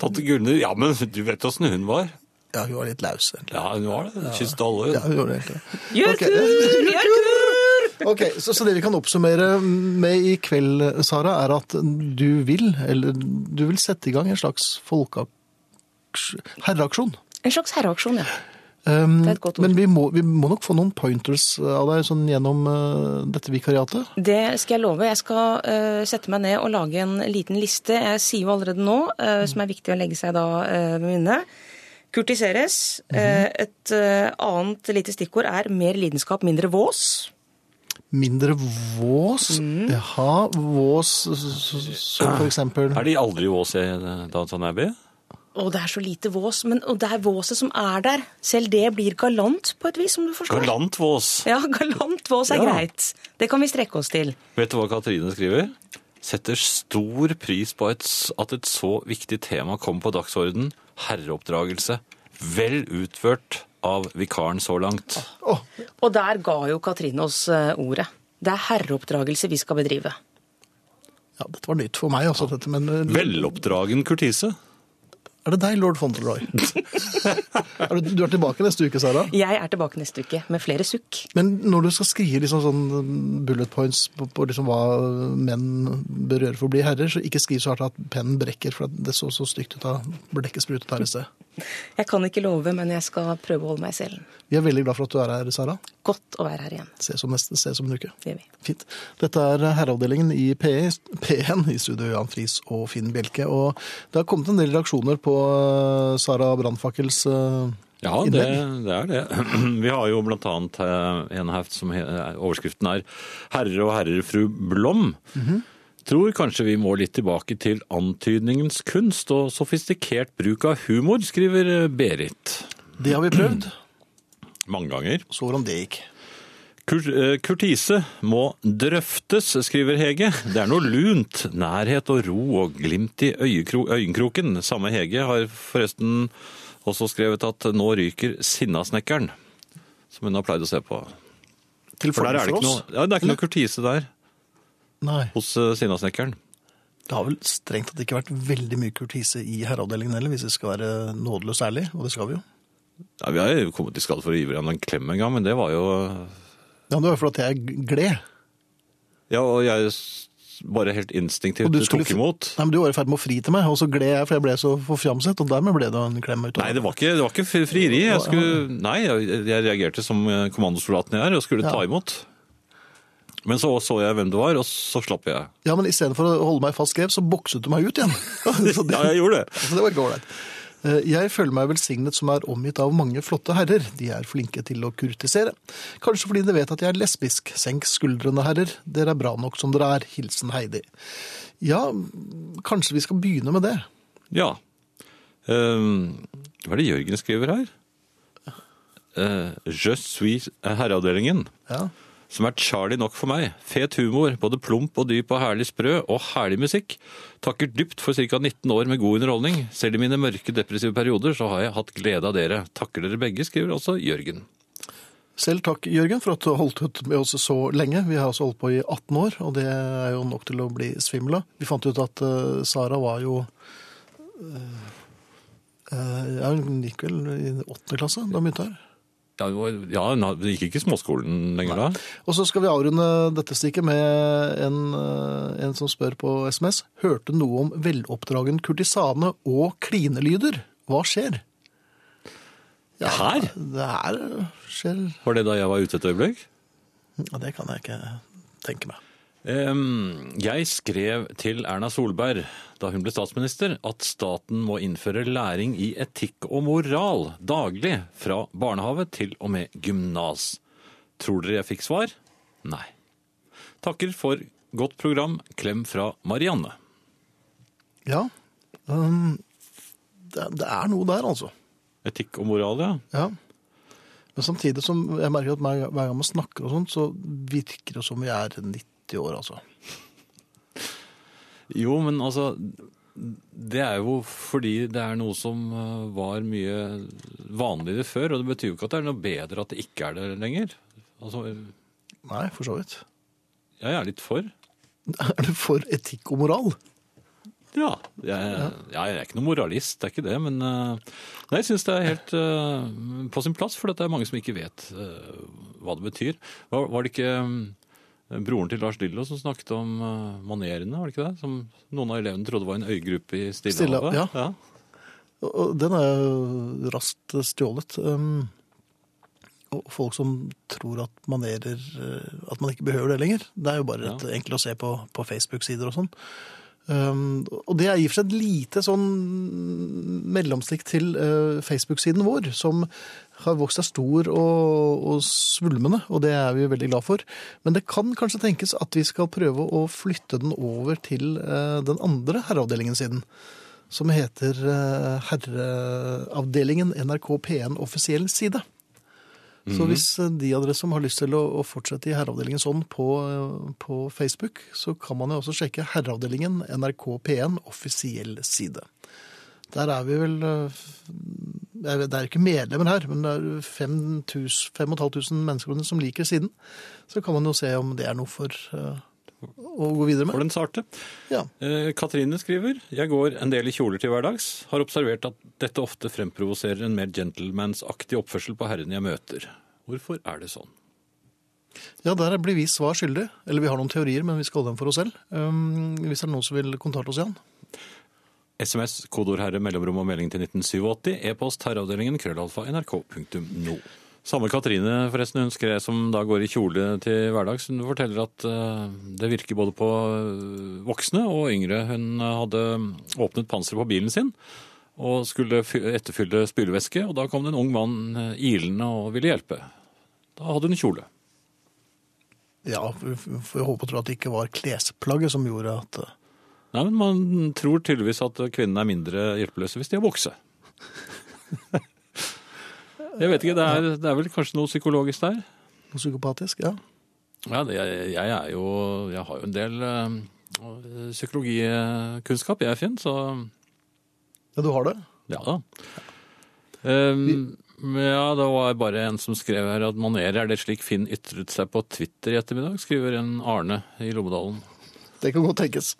S2: Tante Gullner, ja, men du vet åssen hun var.
S1: Ja, hun var litt laus, egentlig.
S2: Ja, hun var det. Hun kysset alle.
S1: Ja, hun gjorde egentlig det.
S3: Gjør
S1: Ok.
S3: kur! Gjør kur!
S1: Ok, så, så det vi kan oppsummere med i kveld, Sara, er at du vil, eller du vil sette i gang en slags folkeaks... herreaksjon.
S3: En slags herreaksjon, ja.
S1: Um,
S3: Det er et godt ord.
S1: Men vi må, vi må nok få noen pointers av deg sånn gjennom eh, dette vikariatet.
S3: Det skal jeg love. Jeg skal eh, sette meg ned og lage en liten liste. Jeg sier jo allerede nå, eh, som er viktig å legge seg da eh, ved minne. Kurtiseres.
S2: Mhm.
S3: Eh, et eh, annet lite stikkord er mer lidenskap, mindre vås.
S1: Mindre vås. Jaha, vås som for eksempel
S2: Er de aldri i eh, Ås i Downton Abbey?
S3: Og det er så lite vås, men og det er våset som er der. Selv det blir galant på et vis, om du forstår.
S2: Galant Vås.
S3: Ja, galant vås er
S2: Ja.
S3: greit. Det kan vi strekke oss til.
S2: Vet du hva Katrine skriver? Setter stor pris på et, at et så viktig tema kommer på dagsorden. Herreoppdragelse. Vel utført av vikaren så langt.
S1: Åh,
S3: Og der ga jo Katrine oss eh, ordet. Det er herreoppdragelse vi skal bedrive.
S1: ja, Dette var nytt for meg, altså. Dette, men eh,
S2: Veloppdragen kurtise.
S1: er det deg, lord Fauntleroy? [laughs] er du, du er tilbake neste uke, Sara.
S3: Jeg er tilbake neste uke med flere sukk.
S1: Men når du skal skrive liksom sånn bullet points på, på liksom hva menn bør gjøre for å bli herrer, så ikke skriv så hardt at pennen brekker, for det så så stygt ut av blekket sprutet her i sted.
S3: Jeg kan ikke love, men jeg skal prøve å holde meg i selen.
S1: Vi er veldig glad for at du er her, Sara.
S3: Godt å være her igjen.
S1: Ses om, neste, ses om en uke.
S3: Det gjør vi.
S1: Fint. Dette er Herreavdelingen i P1, P1 i studio Jan Friis og Finn Bjelke. Og det har kommet en del reaksjoner på eh, Sara Brannfakkels eh,
S2: Ja, det, det er det. [clears throat] Vi har jo blant annet eh, en heft som he- overskriften er 'Herre og herrefru Blom'. Tror kanskje vi må litt tilbake til antydningens kunst og sofistikert bruk av humor, skriver eh, Berit.
S1: Det har vi prøvd. [clears throat]
S2: Mange ganger.
S1: Så hvordan det gikk.
S2: Kur eh, kurtise må drøftes, skriver Hege. Det er noe lunt, nærhet og ro og glimt i øyekro øyenkroken. Samme Hege har forresten også skrevet at nå ryker Sinnasnekkeren, som hun har pleid å se på.
S1: Til
S2: For der er det ikke noe, ja, det er ikke noe kurtise der
S1: Nei.
S2: hos eh, Sinnasnekkeren.
S1: Det har vel strengt tatt ikke vært veldig mye kurtise i herreavdelingen heller, hvis vi skal være nådeløst ærlige, og det skal vi jo.
S2: Ja, vi har jo kommet i skade for å gi hverandre en klem en gang, men det var jo
S1: Ja, men det var jo fordi jeg gled.
S2: Ja, og jeg s- bare helt instinktivt
S1: Og du
S2: tok
S1: skulle-
S2: imot.
S1: Nei, men du var i ferd med å fri til meg, og så gled jeg, for jeg ble så forfjamset, og dermed ble det en klem utover.
S2: Nei, det var ikke, det var ikke fri- frieri. Jeg skulle, nei, jeg jeg reagerte som eh, kommandosoldaten jeg er, og skulle ta
S1: Ja.
S2: imot. Men så så jeg hvem det var, og så slapp jeg.
S1: Ja, men i stedet for å holde meg fast grep, så bokset du meg ut igjen. [laughs] Så det-
S2: Ja, jeg gjorde det.
S1: Så det var ikke ålreit. Eh, Jeg føler meg velsignet som er omgitt av mange flotte herrer. De er flinke til å kurtisere. Kanskje fordi de vet at jeg er lesbisk. Senk skuldrene, herrer. Dere er bra nok som dere er. Hilsen Heidi. Ja, kanskje vi skal begynne med det.
S2: Ja. Ehm, hva er det Jørgen skriver her? Uh, Je suis herreavdelingen.
S1: Ja.
S2: Som er Charlie nok for meg. Fet humor, både plump og dyp og herlig sprø, og herlig musikk. Takker dypt for ca. 19 år med god underholdning. Selv i mine mørke, depressive perioder så har jeg hatt glede av dere. Takker dere begge, skriver også Jørgen.
S1: Selv takk, Jørgen, for at du har holdt ut med oss så lenge. Vi har altså holdt på i 18 år, og det er jo nok til å bli svimmel av. Vi fant ut at eh, Sara var jo eh, eh, ja, Hun gikk vel i åttende klasse da hun begynte her.
S2: Ja, hun var- ja, hun hadde- gikk ikke i småskolen lenger da.
S1: Og så skal vi avrunde dette stikket med en, eh, en som spør på SMS. Hørte noe om veloppdragen kurtisane og klinelyder. Hva skjer? Ja,
S2: Her?
S1: Det her skjer
S2: Var det da jeg var ute et øyeblikk?
S1: ja, Det kan jeg ikke tenke meg.
S2: Ehm, Jeg skrev til Erna Solberg da hun ble statsminister at staten må innføre læring i etikk og moral daglig fra barnehave til og med gymnas. Tror dere jeg fikk svar? Nei. Takker for godt program. Klem fra Marianne.
S1: Ja. Um, det, det er noe der, altså.
S2: Etikk og moral, ja.
S1: Ja. Men samtidig som jeg merker at hver hver gang man snakker og sånt, så virker det som vi er 90 år, altså.
S2: Jo, men altså Det er jo fordi det er noe som eh, var mye vanligere før, og det betyr jo ikke at det er noe bedre at det ikke er det lenger. Altså,
S1: Nei, for så vidt.
S2: jeg er litt for.
S1: Er du for etikk og moral?
S2: Ja. Jeg, ja, jeg er ikke noen moralist, det er ikke det, men eh, nei, jeg syns det er helt eh, på sin plass, for det er mange som ikke vet eh, hva det betyr. Var, var det ikke eh, broren til Lars Lillo som snakket om eh, manerene, var det ikke det? Som noen av elevene trodde var en øygruppe i
S1: Stillehavet,
S2: Stillehavet?
S1: ja. Og- og Den er jo raskt stjålet. Um, og folk som tror at manerer eh, At man ikke behøver det lenger. Det er jo bare rett, enkelt å se på, på Facebook-sider og sånn. Um, og det er i og for seg et lite sånn mellomstikk til eh, Facebook-siden vår, som har vokst seg stor og, og svulmende, og det er vi veldig glad for. Men det kan kanskje tenkes at vi skal prøve å flytte den over til eh, den andre herreavdelingen siden. Som heter eh, Herreavdelingen NRK P1 offisiell side. Så hvis eh, de av dere som har lyst til å, å fortsette i herreavdelingen sånn på, eh, på Facebook, så kan man jo også sjekke herreavdelingen NRK P1 offisiell side. Der er vi vel eh, jeg vet, Det er ikke medlemmer her, men det er 5500 mennesker som liker siden. Så kan man jo se om det er noe for eh, å gå videre
S2: For
S1: med.
S2: den sarte.
S1: Ja.
S2: Eh, Katrine skriver Jeg går en del i kjoler til hverdags. Har observert at dette ofte fremprovoserer en mer gentlemansaktig oppførsel på herrene jeg møter. Hvorfor er det sånn?
S1: Ja, der blir vi svar skyldig. Eller vi har noen teorier, men vi skal holde dem for oss selv. Um, hvis det er noen som vil kontakte oss igjen.
S2: SMS, kodord herre, mellomrom og melding til 1987. E-post herreavdelingen krøllalfa nrk.no. Samme Katrine, forresten, hun skrev som da går i kjole til hverdags. Hun forteller at eh, det virker både på eh, voksne og yngre. Hun hadde åpnet panseret på bilen sin og skulle fy- etterfylle spylevæske, og da kom det en ung mann eh, ilende og ville hjelpe. Da hadde hun kjole.
S1: Ja, vi får håpe og tro at det ikke var klesplagget som gjorde at eh,
S2: Nei, men Man tror tydeligvis at kvinnene er mindre hjelpeløse hvis de har bukse. [laughs] Jeg vet ikke, det er, det er vel kanskje noe psykologisk der?
S1: noe psykopatisk. Ja.
S2: Ja, det, jeg, jeg er jo Jeg har jo en del eh, psykologikunnskap, jeg, Finn, så
S1: ja, du har det.
S2: ja da. Ehm, men ja, det var bare en som skrev her at manerer er det slik Finn ytret seg på Twitter i ettermiddag, skriver en Arne i Lommedalen.
S1: Det kan godt tenkes.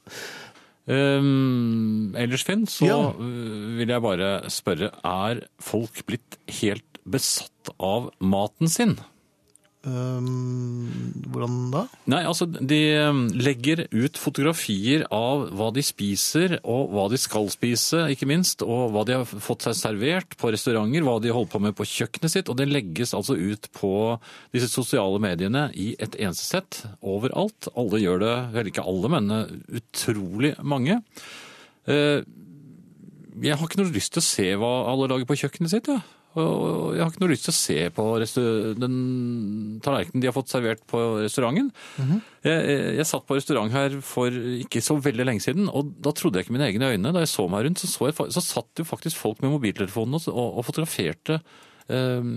S2: Um, ellers, Finn, så
S1: Ja.
S2: uh, vil jeg bare spørre Er folk blitt helt besatt av maten sin?
S1: Um, hvordan da?
S2: Nei, altså, de um, legger ut fotografier av hva de spiser, og hva de skal spise, ikke minst, og hva de har fått seg servert på restauranter, hva de holder på med på kjøkkenet sitt, og det legges altså ut på disse sosiale mediene i et eneste sett, overalt. Alle gjør det, vel ikke alle, men uh, utrolig mange. Eh, Jeg har ikke noe lyst til å se hva alle lager på kjøkkenet sitt, jeg. Og jeg har ikke noe lyst til å se på restau- den tallerkenen de har fått servert på restauranten. jeg, jeg, jeg satt på restaurant her for ikke så veldig lenge siden, og da trodde jeg ikke mine egne øyne. Da jeg så meg rundt, så, så, jeg, fa- så satt jo faktisk folk med mobiltelefonen og, og, og fotograferte eh,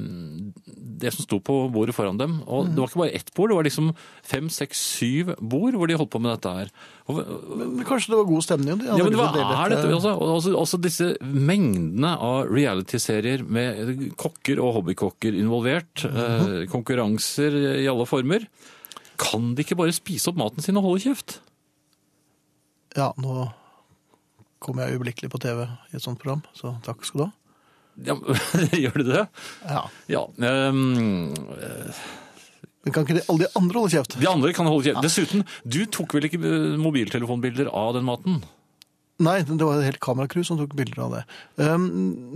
S2: det som sto på bordet foran dem. Og det var ikke bare ett bord, det var liksom fem, seks, syv bord hvor de holdt på med dette her. Og,
S1: Men, men kanskje det var god stemning? og de hadde
S2: ja, men hva
S1: lyst til å dele
S2: er dette?
S1: dette-
S2: Altså, Og også, også disse mengdene av reality-serier med kokker og hobbykokker involvert. eh, konkurranser i alle former. Kan de ikke bare spise opp maten sin og holde kjeft?
S1: Ja, nå kom jeg øyeblikkelig på TV i et sånt program, så takk skal du ha.
S2: Ja, [laughs] gjør de det?
S1: Ja.
S2: Ja. ehm,
S1: Men kan ikke de, alle de andre holde kjeft?
S2: de andre kan holde kjeft. Dessuten, du tok vel ikke eh, mobiltelefonbilder av den maten?
S1: Nei, det var et helt kameracrew som tok bilder av det. Um,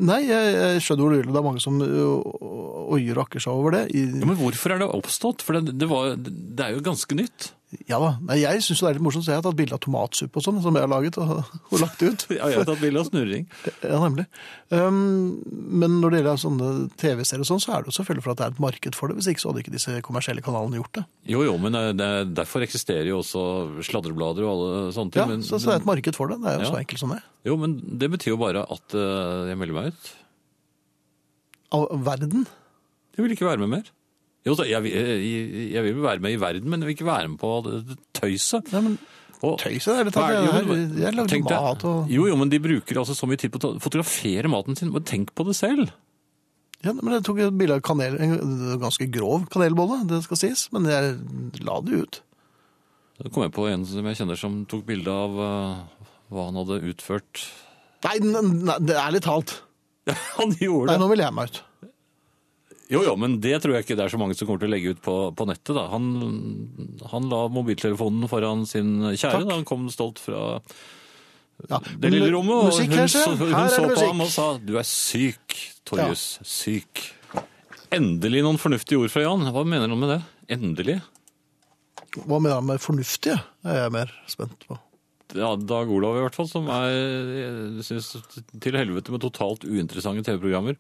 S1: nei, jeg, jeg skjønner hvor du vil. Det er mange som ø, oier og akker seg over det. I,
S2: Ja, men hvorfor er det oppstått? For det, det, var, det er jo ganske nytt.
S1: ja da. Nei, jeg syns det er litt morsomt, så jeg har tatt bilde av tomatsuppe og sånn, som jeg har laget og, [laughs] og lagt ut.
S2: [laughs] Ja, jeg har tatt bilde av snurring.
S1: Ja, nemlig. Um, men når det gjelder sånne TV-serier og sånn, så er det jo selvfølgelig for at det er et marked for det. Hvis ikke så hadde ikke disse kommersielle kanalene gjort det.
S2: Jo, jo, men eh, det, er- derfor eksisterer jo også sladreblader og alle sånne ting.
S1: Ja,
S2: men,
S1: så, så det er et marked for det. Det er jo
S2: Ja.
S1: så enkelt som det.
S2: Jo, men det betyr jo bare at eh, jeg melder meg ut.
S1: Av verden.
S2: Jeg vil ikke være med mer. Jo, da, jeg, vil- jeg, jeg vil være med i verden, men jeg vil ikke være med på det, det tøyset.
S1: Nei, men
S2: Og-
S1: tøys er det.
S2: Hva
S1: Jeg,
S2: er det- jo,
S1: jeg,
S2: men-
S1: jeg lagde
S2: tenk deg-
S1: mat og
S2: Jo, jo, men de bruker altså så mye tid på å ta- fotografere maten sin. Men tenk på det selv.
S1: ja, men Jeg tok et bilde av kanel, en ganske grov kanelbolle, det skal sies. Men jeg la det ut.
S2: Da kom jeg på en som jeg kjenner som tok bilde av eh, hva han hadde utført. [laughs]
S1: Nei, n- nei det er litt talt.
S2: han
S1: Nei,
S2: gjorde det!
S1: nå vil jeg meg ut.
S2: Jo, jo, men det tror jeg ikke det er så mange som kommer til å legge ut på, på nettet. da. Han, han la mobiltelefonen foran sin kjære
S1: Takk.
S2: da han kom stolt fra
S1: Ja,
S2: det lille
S1: men
S2: rommet, og
S1: musikk,
S2: hun,
S1: kanskje?
S2: så, hun
S1: Her er
S2: så
S1: det
S2: på ham og
S1: musikk.
S2: sa 'du er syk, Torjus, syk'. Endelig noen fornuftige ord fra Jan. Hva mener han med det? Endelig?
S1: Hva mener han med fornuftige? Det er jeg mer spent på.
S2: Ja, Dag Olav i hvert fall, som er jeg synes, til helvete med totalt uinteressante TV-programmer.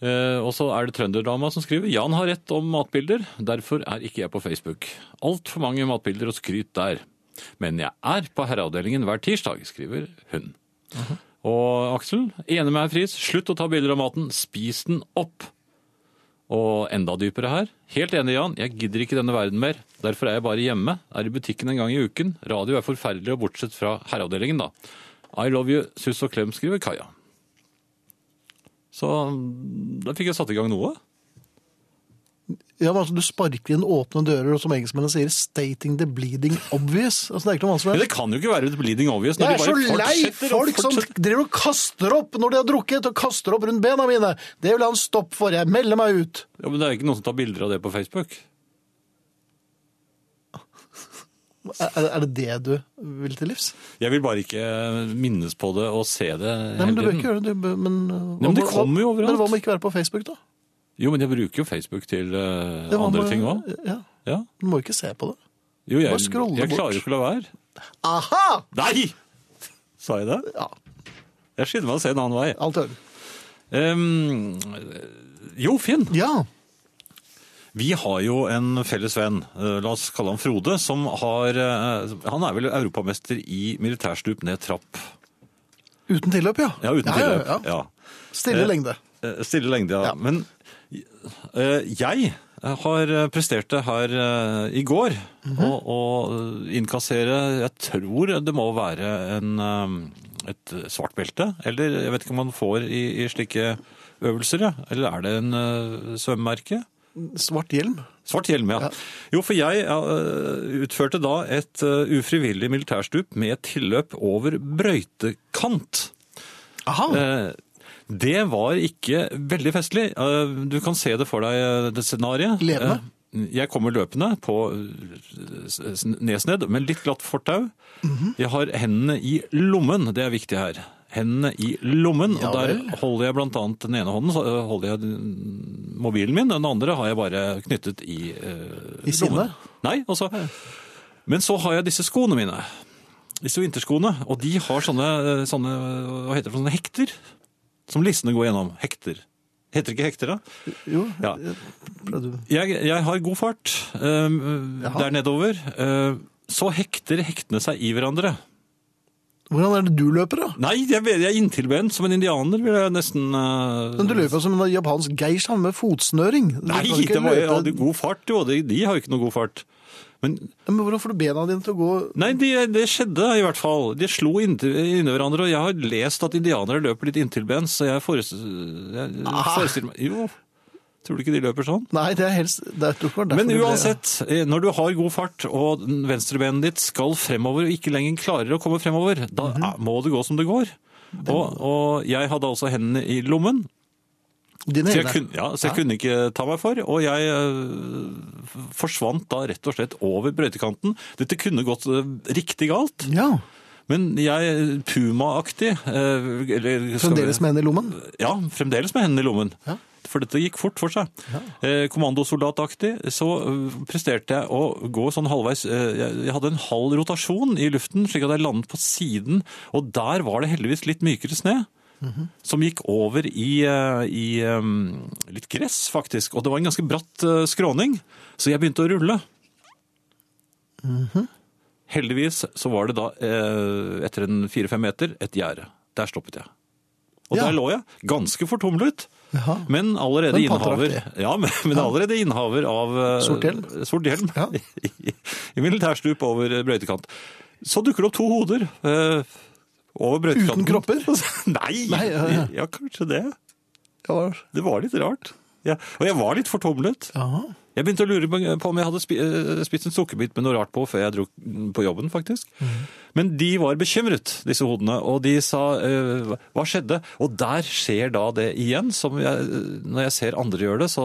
S2: Eh, og så er det trønderdama som skriver Jan har rett om matbilder, derfor er ikke jeg på Facebook. Altfor mange matbilder og skryt der. Men jeg er på herreavdelingen hver tirsdag, skriver hun. Og Aksel, enig med herr Friis, slutt å ta bilder av maten, spis den opp. Og enda dypere her. Helt enig, Jan. Jeg gidder ikke denne verden mer. Derfor er jeg bare hjemme. Er i butikken en gang i uken. Radio er forferdelig, og bortsett fra herreavdelingen, da. I love you, suss og klem, skriver Kaja. Så da fikk jeg satt i gang noe.
S1: Ja, men altså, Du sparker inn åpne dører, og som engelskmennene sier 'stating the bleeding obvious'. Altså, Det er ikke noe
S2: Men
S1: vanskelig.
S2: det kan jo ikke være et bleeding obvious.
S1: Jeg er
S2: når de
S1: så
S2: bare
S1: lei
S2: fortsetter og
S1: folk som
S2: fortsetter.
S1: driver og kaster opp når de har drukket, og kaster opp rundt bena mine. Det vil jeg ha en stopp for. Jeg melder meg ut.
S2: Ja, Men det er jo ikke noen som tar bilder av det på Facebook.
S1: Er, er- er det det du vil til livs?
S2: Jeg vil bare ikke minnes på det og se det
S1: Nei, men Du bør
S2: hele
S1: ikke
S2: tiden.
S1: gjøre det. Du, bør- men, uh,
S2: Nei, men det
S1: hva-
S2: kommer jo overalt.
S1: Men hva med ikke være på Facebook, da?
S2: Jo, men jeg bruker jo Facebook til eh,
S1: Det var
S2: andre
S1: med-
S2: ting òg.
S1: Ja,
S2: Ja.
S1: Du må jo ikke se på det.
S2: Jo, jeg,
S1: Bare scrolle
S2: jeg
S1: bort.
S2: klarer jo ikke å la være.
S1: Aha!
S2: Nei! Sa jeg det?
S1: Ja,
S2: Jeg skynder meg å se en annen vei.
S1: alt i orden.
S2: Ehm, jo, Finn.
S1: Ja.
S2: Vi har jo en felles venn, eh, la oss kalle han Frode, som har eh, Han er vel europamester i militærstup ned trapp.
S1: Uten tilløp, ja.
S2: Ja, uten tilløp.
S1: Ja,
S2: Ja,
S1: ja. Stille
S2: Eh,
S1: lengde.
S2: Eh, Stille lengde, ja.
S1: Ja.
S2: Men eh, jeg har prestert det her eh, i går. å, å innkassere Jeg tror det må være en, eh, et svart belte. Eller jeg vet ikke om man får i, i slike øvelser, ja. Eller er det en eh, svømmemerke?
S1: Svart hjelm.
S2: Svart hjelm, ja. Jo, for jeg ja, øh, utførte da et øh, ufrivillig militærstup med et tilløp over brøytekant.
S1: Aha.
S2: Eh, Det var ikke veldig festlig. Eh, Du kan se det for deg, eh, det scenariet.
S1: Levende?
S2: Eh, Jeg kommer løpende på eh, s- s- nesned med litt glatt fortau.
S1: Mhm.
S2: Jeg har hendene i lommen, det er viktig her. Hendene i lommen, og
S1: Ja
S2: der
S1: vel.
S2: holder jeg blant annet den ene hånden, så eh, holder jeg den- mobilen min, den andre har jeg bare knyttet i eh,
S1: I sinne?
S2: lommen. Nei, altså. Men så har jeg disse skoene mine. Disse vinterskoene. Og de har sånne, eh, sånne hva heter det, for sånne hekter som lissene går gjennom. Hekter. Heter det ikke hekter, da?
S1: Jo,
S2: Ja.
S1: ble du
S2: Jeg, jeg har god fart øhm,
S1: Jaha.
S2: der nedover. Øhm, så hekter hektene seg i hverandre.
S1: Hvordan er det du løper, da?
S2: Nei, jeg, jeg er inntilbent som en indianer, vil jeg nesten øh,
S1: Men du løper som en japansk geisha med fotsnøring. Du
S2: Nei,
S1: kan ikke
S2: det var, jeg
S1: løpe-
S2: hadde god fart, jo. De, de har jo ikke noe god fart. Men
S1: Ja, Men hvordan får du bena dine til å gå
S2: Nei, de- det skjedde i hvert fall. De slo inntil, inni hverandre, og jeg har lest at indianere løper litt inntilbens, så jeg, forest, jeg forestiller meg Jo, tror du ikke de løper sånn?
S1: Nei, det er helst det er, jeg tror det er derfor
S2: Men
S1: du ble-
S2: uansett, eh, når du har god fart og venstrebenet ditt skal fremover og ikke lenger klarer å komme fremover, da eh, må det gå som det går. Og, og jeg hadde altså hendene i lommen,
S1: Dine
S2: så jeg,
S1: egne.
S2: kunne, ja, så jeg kunne ikke ta meg for. Og jeg eh, f- forsvant da rett og slett over brøytekanten. Dette kunne gått eh, riktig galt.
S1: Ja.
S2: Men jeg Puma-aktig eh, eller skal vi-
S1: Fremdeles med henne i lommen.
S2: Ja, fremdeles med hendene i lommen.
S1: Ja.
S2: For dette gikk fort for seg. Eh, Kommandosoldataktig så eh, presterte jeg å gå sånn halvveis eh, Jeg jeg hadde en halv rotasjon i luften, slik at jeg landet på siden. Og der var det heldigvis litt mykere sne. Som gikk over i, eh, i eh, litt gress, faktisk. Og det var en ganske bratt eh, skråning, så jeg begynte å rulle.
S1: Mhm.
S2: Heldigvis så var det da, eh, etter en fire-fem meter, et gjerde. Der stoppet jeg. Og
S1: Ja.
S2: der lå jeg, ganske fortumlet,
S1: Jaha.
S2: men allerede
S1: Men
S2: innehaver
S1: panteraktig.
S2: ja, men, men allerede innehaver av eh,
S1: Sort hjelm.
S2: sort hjelm
S1: Ja.
S2: [laughs] i, i militærstup over eh, brøytekant. Så dukker det opp to hoder eh, over brøytekanten.
S1: Uten [laughs] kropper?
S2: Nei,
S1: Nei, ja, ja.
S2: ja, kanskje det.
S1: Ja, hva-
S2: Det var litt rart. Ja. Og jeg var litt fortumlet.
S1: Jaha.
S2: Jeg begynte å lure på om jeg hadde spi- eh, spist en sukkerbit med noe rart på før jeg dro på jobben, faktisk.
S1: Mhm.
S2: Men de var bekymret, disse hodene, og de sa eh, hva skjedde? Og der skjer da det igjen. Som jeg, når jeg ser andre gjøre det, så,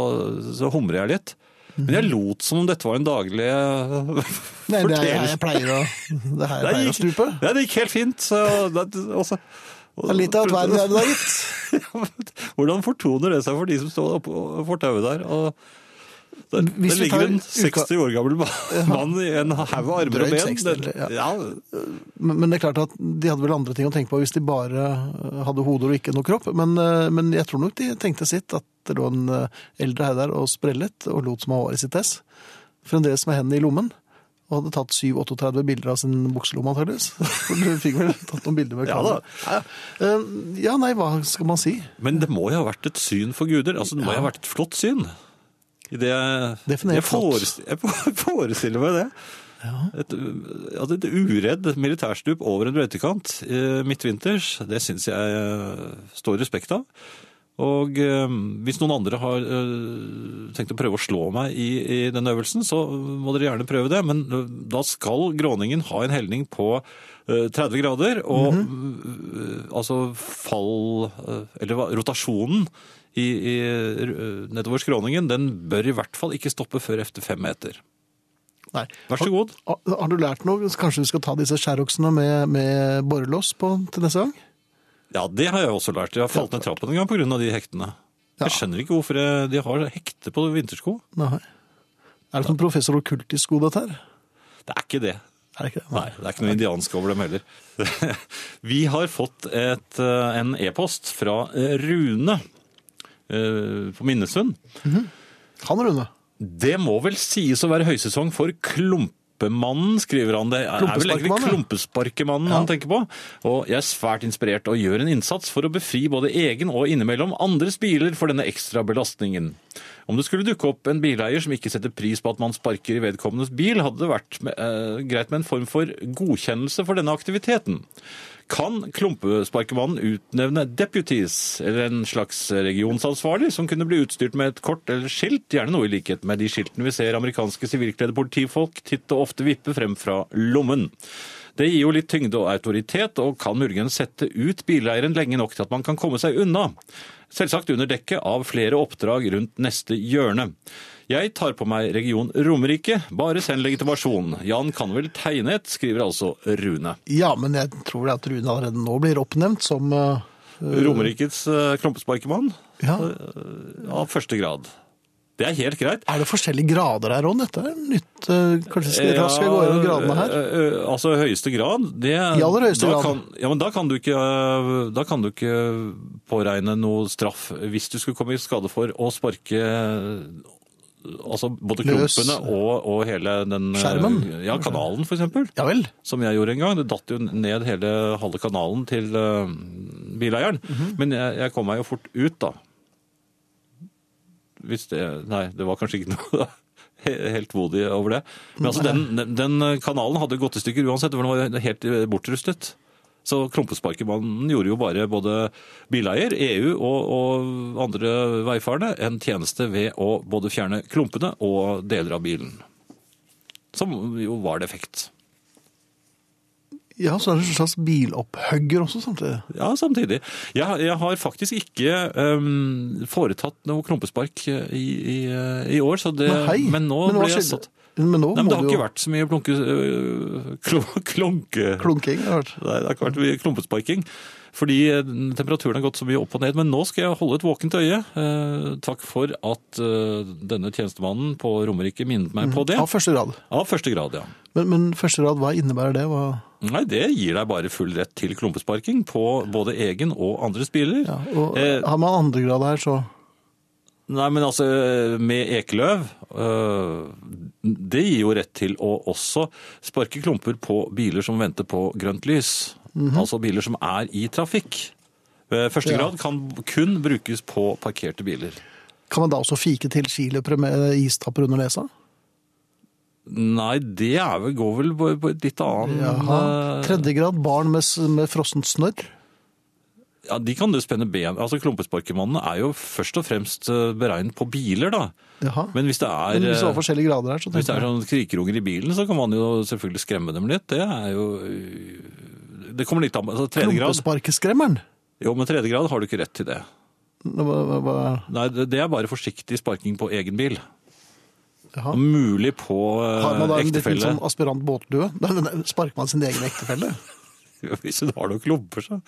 S2: så humrer jeg litt. Men jeg lot som om dette var en daglig
S1: Mhm.
S2: eh, [laughs]
S1: Nei, det er her
S2: fortellelse.
S1: jeg pleier å Det er her jeg pleier å stupe.
S2: Nei, det gikk helt fint. Så, det, og så-
S1: Det er litt av et verden jeg er i dag, gitt.
S2: [laughs] Hvordan fortoner det seg for de som står oppå fortauet der? og... Der,
S1: Hvis
S2: der
S1: vi
S2: ligger
S1: tar
S2: en
S1: uka-
S2: 60 år gammel ma- mann i en haug av armer og
S1: Drøyt
S2: ben.
S1: 60,
S2: Den-
S1: eller,
S2: ja,
S1: Men, men det er klart at de hadde vel andre ting å tenke på hvis de bare eh, hadde hoder og ikke noe kropp. Men, eh, men jeg tror nok de tenkte sitt, at det lå en eh, eldre her der og sprellet og lot som han var i sitt ess. Fremdeles med hendene i lommen. Og hadde tatt 7-38 bilder av sin bukselomme, antakeligvis. [laughs] For du fikk vel tatt noen bilder med
S2: Ja da.
S1: kamera. Ja, ja. Eh, ja, nei, hva skal man si?
S2: Men det må jo ha vært et syn for guder. Altså, det må jo ha vært et flott syn. I det,
S1: Definer
S2: jeg,
S1: flott.
S2: forestiller, jeg [laughs] forestiller meg det. Et, at et uredd militærstup over en brøytekant eh, midtvinters, det syns jeg eh, står respekt av. Og eh, hvis noen andre har eh, tenkt å prøve å slå meg i, i den øvelsen, så må dere gjerne prøve det. Men eh, da skal gråningen ha en helning på eh, 30 grader, og eh, altså fall eh, Eller hva, rotasjonen i, i, eh, nedover skråningen, den bør i hvert fall ikke stoppe før efter fem meter.
S1: Nei.
S2: Vær så god.
S1: Har, Ah, har du lært noe? Kanskje vi skal ta disse skjæroksene med, med borrelås på til neste gang?
S2: Ja, det har jeg også lært. Jeg har falt ned trappen en gang pga. de hektene.
S1: Ja.
S2: Jeg skjønner ikke hvorfor jeg, de har hekte på vintersko.
S1: Nei. Er det som professor okkultisk god, dette her?
S2: Det er ikke det.
S1: Er det ikke det?
S2: Nei, det er ikke noe indiansk over dem heller. [laughs] Vi har fått et, eh, en e-post fra eh, Rune eh, på Minnesund.
S1: Han Rune.
S2: Det må vel sies å være høysesong for Klumpemannen, skriver han. Det er vel egentlig
S1: Klumpesparkemannen, ja.
S2: Klumpesparkemannen
S1: Ja.
S2: han tenker på. Og jeg er svært inspirert og gjør en innsats for å befri både egen og innimellom andres biler for denne ekstra belastningen. Om det skulle dukke opp en bileier som ikke setter pris på at man sparker i vedkommendes bil, hadde det vært med, eh, greit med en form for godkjennelse for denne aktiviteten. Kan klumpesparkemannen utnevne deputies, eller en slags regionsansvarlig, som kunne bli utstyrt med et kort eller skilt, gjerne noe i likhet med de skiltene vi ser amerikanske sivilkledde politifolk titt og ofte vippe frem fra lommen. Det gir jo litt tyngde og autoritet, og kan muligens sette ut bileieren lenge nok til at man kan komme seg unna. Selvsagt under dekke av flere oppdrag rundt neste hjørne. Jeg tar på meg region Romerike, bare send legitimasjon. Jan kan vel tegne et, skriver altså Rune.
S1: Ja, men jeg tror at Rune allerede nå blir oppnevnt som eh,
S2: Romerikets eh, klumpesparkemann
S1: ja.
S2: av første grad. Det er helt greit.
S1: Er det forskjellige grader her òg? Dette er nytt. eh, Kanskje vi skal, raskt skal vi gå gjennom gradene her?
S2: Ja, ø, ø, Altså høyeste grad, det
S1: I aller høyeste
S2: da
S1: grad.
S2: Kan, ja, men da kan, du ikke, ø, da kan du ikke påregne noe straff hvis du skulle komme i skade for å sparke ø, altså både
S1: Løs.
S2: klumpene og, og hele den ø,
S1: Skjermen.
S2: Ja, kanalen for eksempel.
S1: Ja vel.
S2: Som jeg gjorde en gang. Det datt jo ned hele halve kanalen til ø, bileieren. Men jeg, jeg kom meg jo fort ut, da. Hvis det Nei, det var kanskje ikke [laughs] noe he- helt vodig over det. Men altså, den, den- den kanalen hadde gått i stykker uansett, for den var helt eh, bortrustet. Så Klumpesparkemannen gjorde jo bare både bileier, EU og, og andre veifarende en tjeneste ved å både fjerne klumpene og deler av bilen. Som jo var defekt.
S1: Ja, så er det en slags bilopphugger også samtidig.
S2: Ja, samtidig. Jeg, jeg har faktisk ikke øhm, foretatt noe klumpespark eh, i, i, i år, så det,
S1: Men hei!
S2: men nå
S1: hva
S2: ble jeg
S1: skjedde?
S2: satt.
S1: Men nå
S2: Nei, men
S1: må
S2: det har
S1: du jo
S2: ikke vært så mye plunke, [laughs] øh, klo- klunke...
S1: klunking. har det vært.
S2: Nei, det har ikke vært mye klumpesparking, fordi eh, temperaturen har gått så mye opp og ned. Men nå skal jeg holde et våkent øye. Eh, takk for at eh, denne tjenestemannen på Romerike minnet meg på det.
S1: Av første grad.
S2: Av første grad, ja.
S1: Men, men første grad, hva innebærer det? Hva...
S2: Nei, det gir deg bare full rett til klumpesparking på både egen og andres biler.
S1: Ja, og
S2: Eh,
S1: Har man andre grad her, så
S2: Nei, men altså, med ekeløv øh, Det gir jo rett til å også sparke klumper på biler som venter på grønt lys. Altså biler som er i trafikk. Eh, Første
S1: Mhm. Ja.
S2: grad kan kun brukes på parkerte biler.
S1: kan man da også fike til skiløpere med istapper under nesa?
S2: Nei, det er vel, går vel på, på et litt annet
S1: Jaha.
S2: eh,
S1: Tredje grad, barn med, s- med frossent snørr?
S2: Ja, de kan du spenne ben. Altså, Klumpesparkemannen er jo først og fremst eh, beregnet på biler, da.
S1: Jaha.
S2: Men hvis det er
S1: Men hvis det
S2: eh,
S1: var forskjellige grader her, så
S2: Hvis det
S1: tenker
S2: er
S1: jeg
S2: sånn krikerunger i bilen, så kan man jo selvfølgelig skremme dem litt. Det er jo Det kommer litt an på altså, Tredje grad
S1: Klumpesparkeskremmeren?
S2: Jo, men tredje grad har du ikke rett til det.
S1: Hva, hva, hva?
S2: Nei, det det er bare forsiktig sparking på egen bil.
S1: Jaha.
S2: Og mulig på eh,
S1: Har man da en liten
S2: ektefelle. [laughs]
S1: sånn aspirant båtdue? [laughs] Nei, eh, nei, nei, Sparker man sin egen ektefelle?
S2: Hvis hun har noen klumper, så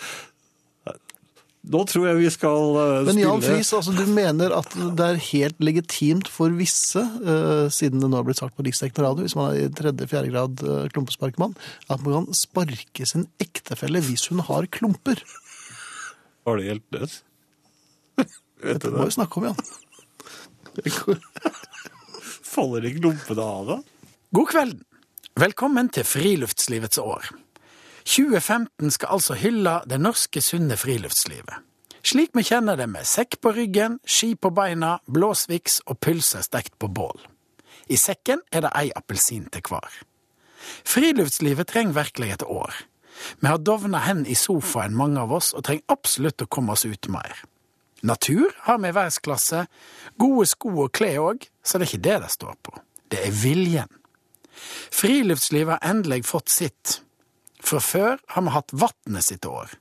S4: Nå tror jeg vi skal eh,
S1: Men Jan
S4: stille
S1: Friis, altså, du mener at det er helt legitimt for visse, eh, siden det nå har blitt sagt på riksdekkende radio, hvis man er i tredje-fjerde grad eh, klumpesparkmann, at man kan sparke sin ektefelle hvis hun har klumper.
S2: Var det [laughs] helt dødt?
S1: Dette må vi snakke om, Jan.
S4: Faller ikke klumpene av deg?
S5: God kvelden. Velkommen til Friluftslivets år. 2015 skal altså hylle det norske sunne friluftslivet. Slik vi kjenner det med sekk på ryggen, ski på beina, blåsviks og pølser stekt på bål. I sekken er det ei appelsin til hver. Friluftslivet trenger virkelig et år. Vi har dovna hen i sofaen mange av oss, og trenger absolutt å komme oss ut mer. Natur har vi i verdensklasse, gode sko og klær òg, så det er ikke det det står på. Det er viljen. Friluftslivet har endelig fått sitt. Fra før har vi hatt vannet sitt år.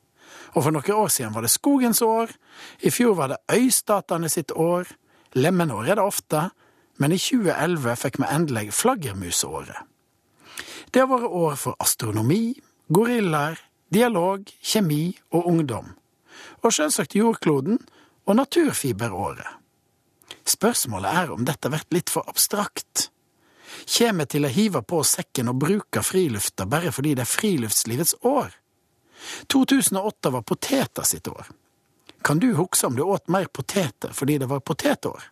S5: Og for noen år siden var det skogens år, i fjor var det øystatene sitt år, lemenår er det ofte, men i 2011 fikk vi endelig flaggermusåret. Det har vært år for astronomi, gorillaer, dialog, kjemi og ungdom. Og selvsagt jordkloden og naturfiberåret. Spørsmålet er om dette blir litt for abstrakt kommer til å hive på sekken og bruke frilufta bare fordi det er friluftslivets år. 2008 var poteta sitt år. Kan du huske om du åt mer poteter fordi det var potetår?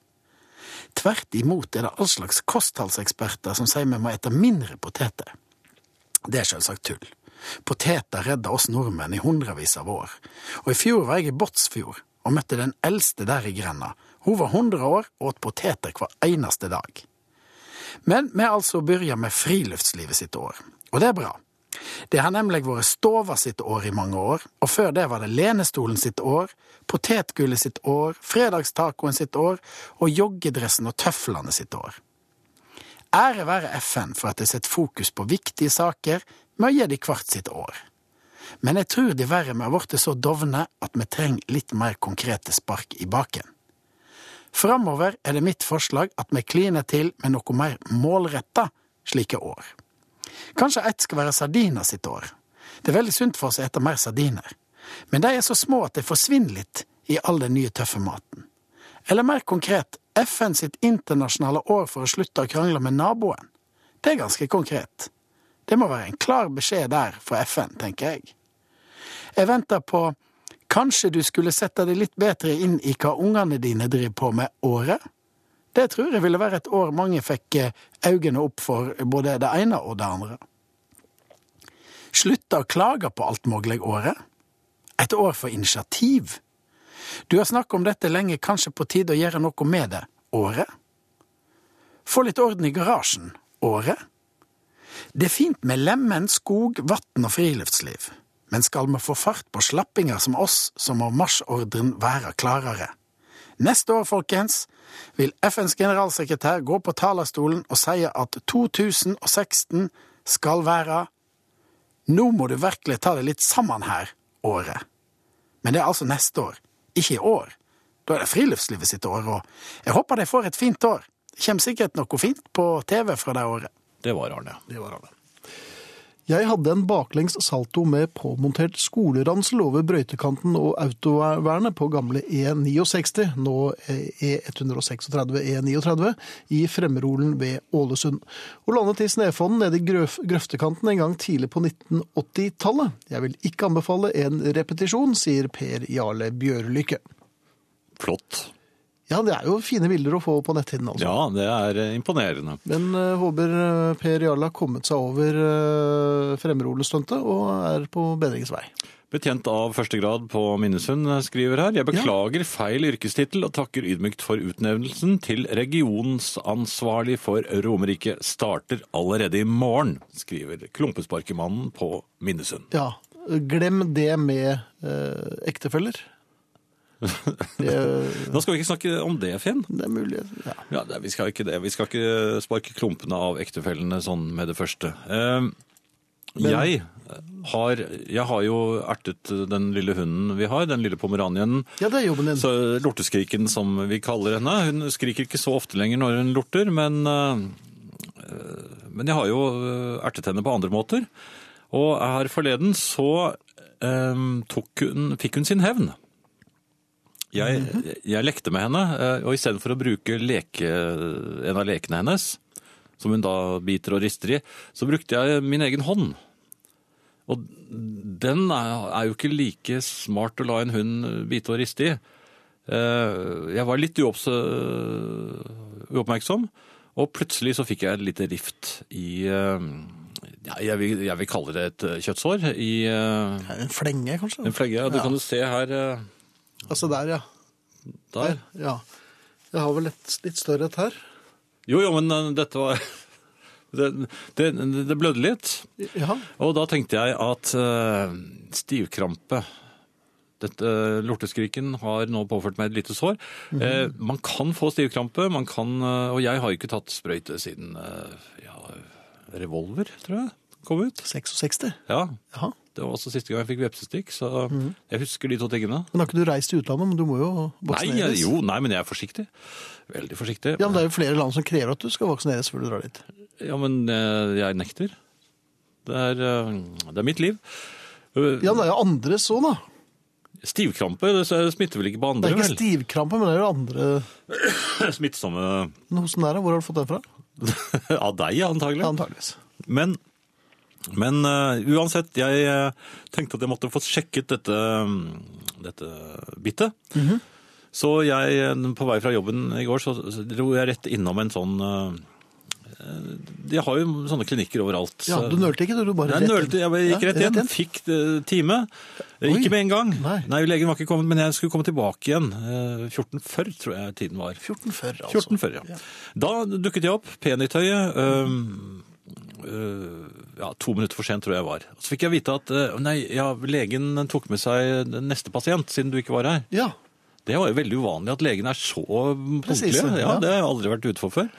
S5: Tvert imot er det all slags kostholdseksperter som sier vi må ete mindre poteter. Det er selvsagt tull. Poteter redda oss nordmenn i hundrevis av år, og i fjor var jeg i Båtsfjord og møtte den eldste der i grenda. Hun var 100 år og åt poteter hver eneste dag. Men vi har altså begynt med friluftslivet sitt år, og det er bra. Det har nemlig vært stova sitt år i mange år, og før det var det lenestolen sitt år, potetgullet sitt år, fredagstacoen sitt år og joggedressen og tøflene sitt år. Ære være FN for at de setter fokus på viktige saker med å gi de hvert sitt år. Men jeg tror dessverre vi har blitt så dovne at vi trenger litt mer konkrete spark i baken. Framover er det mitt forslag at vi kliner til med noe mer målretta slike år. Kanskje ett skal være sardiner sitt år. Det er veldig sunt for oss å ete mer sardiner. Men de er så små at de forsvinner litt i all den nye tøffe maten. Eller mer konkret, FN sitt internasjonale år for å slutte å krangle med naboen. Det er ganske konkret. Det må være en klar beskjed der fra FN, tenker jeg. Jeg venter på Kanskje du skulle sette deg litt bedre inn i hva ungene dine driver på med året? Det tror jeg ville være et år mange fikk eh, øynene opp for både det ene og det andre. Slutte å klage på alt mulig året. Et år for initiativ. Du har snakket om dette lenge, kanskje på tide å gjøre noe med det året? Få litt orden i garasjen året? Det er fint med lemen, skog, vann og friluftsliv. Men skal vi få fart på slappinger som oss, så må marsjordren være klarere. Neste år, folkens, vil FNs generalsekretær gå på talerstolen og si at 2016 skal være Nå må du virkelig ta det litt sammen her, året. Men det er altså neste år, ikke i år. Da er det friluftslivet sitt år, og jeg håper de får et fint år. Det kommer sikkert noe fint på TV fra det året.
S2: Det var Arne.
S1: Jeg hadde en baklengs salto med påmontert skoleransel over brøytekanten og autovernet på gamle E69, nå E136 E39, i Fremrolen ved Ålesund, og landet i Snefonden nede i grøf- grøftekanten en gang tidlig på 1980-tallet. Jeg vil ikke anbefale en repetisjon, sier Per Jarle Bjørlykke.
S2: Flott.
S1: Ja, det er jo fine bilder å få på netthinnen, altså.
S2: Ja, det er eh, imponerende.
S1: Men eh, håper eh, Per Jarle har kommet seg over uh, Fremrolen-stuntet og er på bedringens vei.
S2: Betjent av første grad på Minnesund eh, skriver her. Jeg beklager feil yrkestittel og takker ydmykt for utnevnelsen til regionsansvarlig for Romerike. Starter allerede i morgen, skriver klumpesparkemannen på Minnesund.
S1: Ja, glem det med eh,
S2: [laughs]
S1: ektefeller. Det,
S2: Nå skal vi ikke snakke om det, Finn.
S1: det er mulig. Ja.
S2: Ja, det, vi skal ikke det. Vi skal ikke sparke klumpene av ektefellene sånn med det første. Eh, jeg, har, jeg har jo ertet den lille hunden vi har, den lille pomeranien.
S1: ja, det er jobben din.
S2: Så lorteskriken, som vi kaller henne. Hun skriker ikke så ofte lenger når hun lorter, men, eh, men jeg har jo eh, ertet henne på andre måter. Og her forleden så eh, tok hun, fikk hun sin hevn. Jeg, jeg lekte med henne, eh, og istedenfor å bruke leke, en av lekene hennes, som hun da biter og rister i, så brukte jeg min egen hånd. Og den er, er jo ikke like smart å la en hund bite og riste i. Eh, Jeg var litt uopps uoppmerksom, og plutselig så fikk jeg et lite rift i eh, ja, jeg, vil, jeg vil kalle det et eh, kjøttsår. I eh,
S1: En flenge, kanskje?
S2: en flegge. Ja, Du kan jo se her. eh,
S1: Altså der, ja.
S2: Der.
S1: ja. Jeg har vel et litt større et her.
S2: Jo, jo, men eh, dette var [laughs] Det, det, det blødde litt.
S1: Ja.
S2: Og da tenkte jeg at eh, stivkrampe dette eh, lorteskriken har nå påført meg et lite sår.
S1: Mhm.
S2: Eh, man kan få stivkrampe, man kan, eh, og jeg har jo ikke tatt sprøyte siden eh, ja, revolver, tror jeg, kom ut.
S1: 66.
S2: Ja,
S1: Jaha.
S2: det var også siste gang jeg fikk vepsestikk, så
S1: Mhm.
S2: jeg husker de to tingene.
S1: Men har ikke du reist til utlandet, men du må jo
S2: Nei,
S1: vaksineres?
S2: jeg, jo, nei, men jeg er forsiktig. Veldig forsiktig.
S1: Ja, men det er jo flere land som krever at du skal vaksineres før du drar dit.
S2: Ja, men eh, jeg nekter. Det er, eh, det er mitt liv. Eh,
S1: Ja, men det er jo andre så, da.
S2: Stivkrampe det smitter vel ikke på
S1: Det
S2: andre,
S1: er ikke
S2: vel?
S1: stivkrampe, men det er jo andre
S2: [clears throat] Smittsomme
S1: Men hos den der, Hvor har du fått den fra?
S2: av deg, antagelig.
S1: Ja, antageligvis.
S2: Men, men eh, uansett, jeg eh, tenkte at jeg måtte få sjekket dette, mm, dette bittet.
S1: Mhm.
S2: Så jeg, eh, på vei fra jobben i går, så så dro jeg rett innom en sånn eh, eh, De har jo sånne klinikker overalt.
S1: Ja,
S2: så-
S1: Du nølte ikke, du. du bare
S2: Jeg nølte, jeg bare gikk rett inn, fikk eh, time. Eh,
S1: Oi.
S2: Ikke med en gang.
S1: Nei.
S2: legen var ikke kommet, men jeg skulle komme tilbake igjen. eh, 14.40 tror jeg tiden var.
S1: 14 før, altså.
S2: 14.40, ja. Da dukket jeg opp, penitøyet. eh, eh, ja, to minutter for sent tror jeg jeg var. Så fikk jeg vite at eh, nei, ja, legen tok med seg den neste pasient siden du ikke var her.
S1: Ja,
S2: Det var jo veldig uvanlig at legene er så
S1: Presise,
S2: punktlige. Ja,
S1: ja.
S2: det har jeg aldri vært ute for før.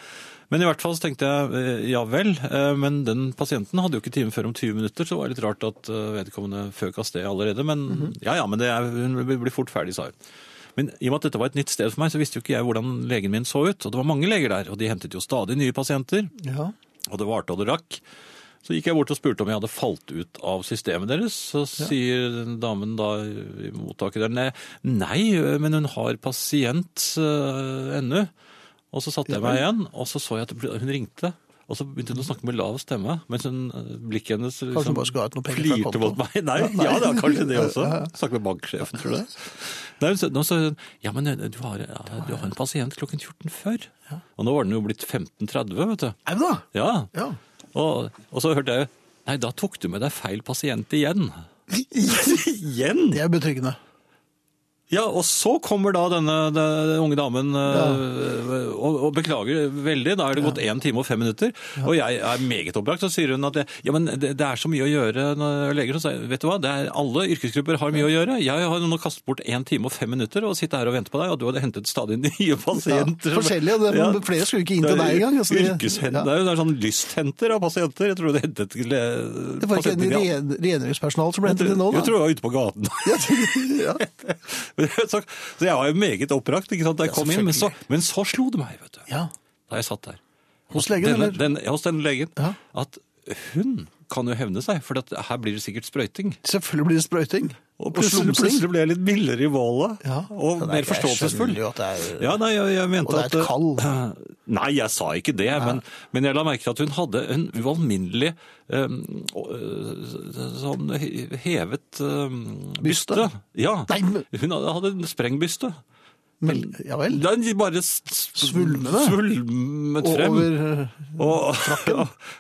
S2: Men i hvert fall så tenkte jeg eh, ja vel, eh, men den pasienten hadde jo ikke time før om 20 minutter, så det var litt rart at eh, vedkommende føk av sted allerede. Men ja ja, men det er, hun blir fort ferdig, sa hun. Men i og med at dette var et nytt sted for meg, så visste jo ikke jeg hvordan legen min så ut. Og det var mange leger der, og de hentet jo stadig nye pasienter.
S1: ja.
S2: Og det varte og det rakk. Så gikk jeg bort og spurte om jeg hadde falt ut av systemet deres. Så sier den damen da i mottaket der nei, nei, men hun har pasient eh, ennå. Og så satte jeg meg igjen, og så så jeg at hun ringte. Og så begynte hun å snakke med lav stemme, mens hun, eh, blikket hennes
S1: hun bare skulle ha ut noen penger fra
S2: flirte
S1: konto.
S2: mot meg. Nei, ja,
S1: Ja, nei.
S2: det var kanskje det også. Snakke med banksjefen, tror du det? Nei, hun sa- nå sa hun ja, men eh, du har, ja, du har en pasient klokken 14.40. Og nå var den jo blitt 15.30, vet du.
S1: Au da!
S2: Ja,
S1: Ja.
S2: og, og så hørte jeg Nei, da tok du med deg feil pasient igjen. igjen?
S1: Det er betryggende.
S2: Ja, og så kommer da denne, den unge damen øh, og, og beklager veldig. Da er det gått én time og fem minutter. Og jeg er meget oppbrakt. Så sier hun at det, ja, men det, det er så mye å gjøre. når leger så sier, vet du hva, det er, Alle yrkesgrupper har mye å gjøre. Jeg har nå kastet bort én time og fem minutter og sitter her og venter på deg, og du hadde hentet stadig [laughs] nye
S1: Ja.
S2: pasienter.
S1: Forskjellige. Det,
S2: Ja.
S1: Flere skulle ikke inn til
S2: Det er
S1: deg engang. altså, de- ja.
S2: yrkeshen- Det er jo det er sånn lysthenter av pasienter. Jeg tror det eh, hentet le-
S1: Det var ikke
S2: pasienter i alle-
S1: en rengjøringspersonal som ble hentet inn nå, da?
S2: Jeg tror jeg var ute på gaten.
S1: [laughs] ja.
S2: [laughs] Men så, så jeg var jo meget oppbrakt ikke sant, da jeg kom inn, men så, men så slo det meg, vet du.
S1: ja.
S2: Da jeg satt der.
S1: Hos
S2: At
S1: legen,
S2: denne,
S1: eller?
S2: Den, ja, hos denne legen.
S1: Ja.
S2: At hun kan jo hevne seg, for at her blir det sikkert sprøyting.
S1: Selvfølgelig blir det sprøyting.
S2: Og plutselig, plutselig ble jeg litt mildere i bålet,
S1: Ja.
S2: og
S1: Men
S2: mer
S1: jeg skjønner
S2: forståelsesfull.
S1: jo at det er-
S2: Ja, nei, jeg, jeg mente
S1: Og det er et
S2: at-
S1: kall.
S2: [clears throat] Nei, jeg sa ikke det, men, men jeg la merke til at hun hadde en ualminnelig eh, eh, sånn he- hevet eh, byste.
S1: Byste?
S2: Ja,
S1: Nei, men-
S2: hun hadde, hadde en sprengbyste.
S1: Men, ja vel.
S2: Den bare s- s-
S1: Svulmende?
S2: svulmet
S1: Og
S2: frem.
S1: over eh,
S2: Og,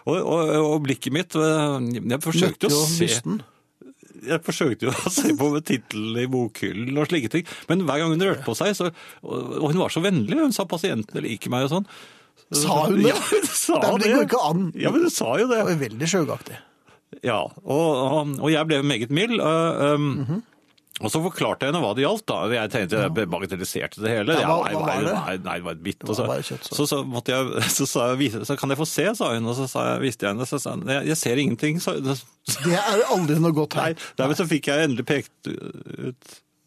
S2: og, [laughs] og, og blikket mitt eh, Jeg forsøkte
S1: møtte
S2: å
S1: jo
S2: se
S1: bysten.
S2: jeg forsøkte jo [laughs] å se på med tittelen i bokhyllen og slike ting, men hver gang hun rørte på seg, så, og og hun var så vennlig, hun sa 'pasientene liker meg' og sånn.
S1: Sa hun det?
S2: Ja, [laughs] hun sa
S1: Nei, men det
S2: det.
S1: går ikke an.
S2: Ja, men hun sa jo det.
S1: Det var veldig sjøgaktig.
S2: Ja, og, og, og jeg ble meget mild. øh, øhm, Og så forklarte jeg henne hva det gjaldt. da. Jeg tenkte jeg bagatelliserte det hele.
S1: Ja,
S2: Ja,
S1: hva-
S2: nei,
S1: hva
S2: nei,
S1: var det?
S2: Nei, nei, det var et bitt. Og
S1: Det var
S2: så,
S1: bare kjøttsår.
S2: så, så, måtte jeg, [laughs] så sa jeg, "Vise- så kan jeg få se, sa hun. Og så sa jeg, viste jeg henne, så sa hun, jeg, jeg ser ingenting. [laughs] Så,
S1: Det er aldri noe godt
S2: nei,
S1: her.
S2: nei, men så fikk jeg endelig pekt ut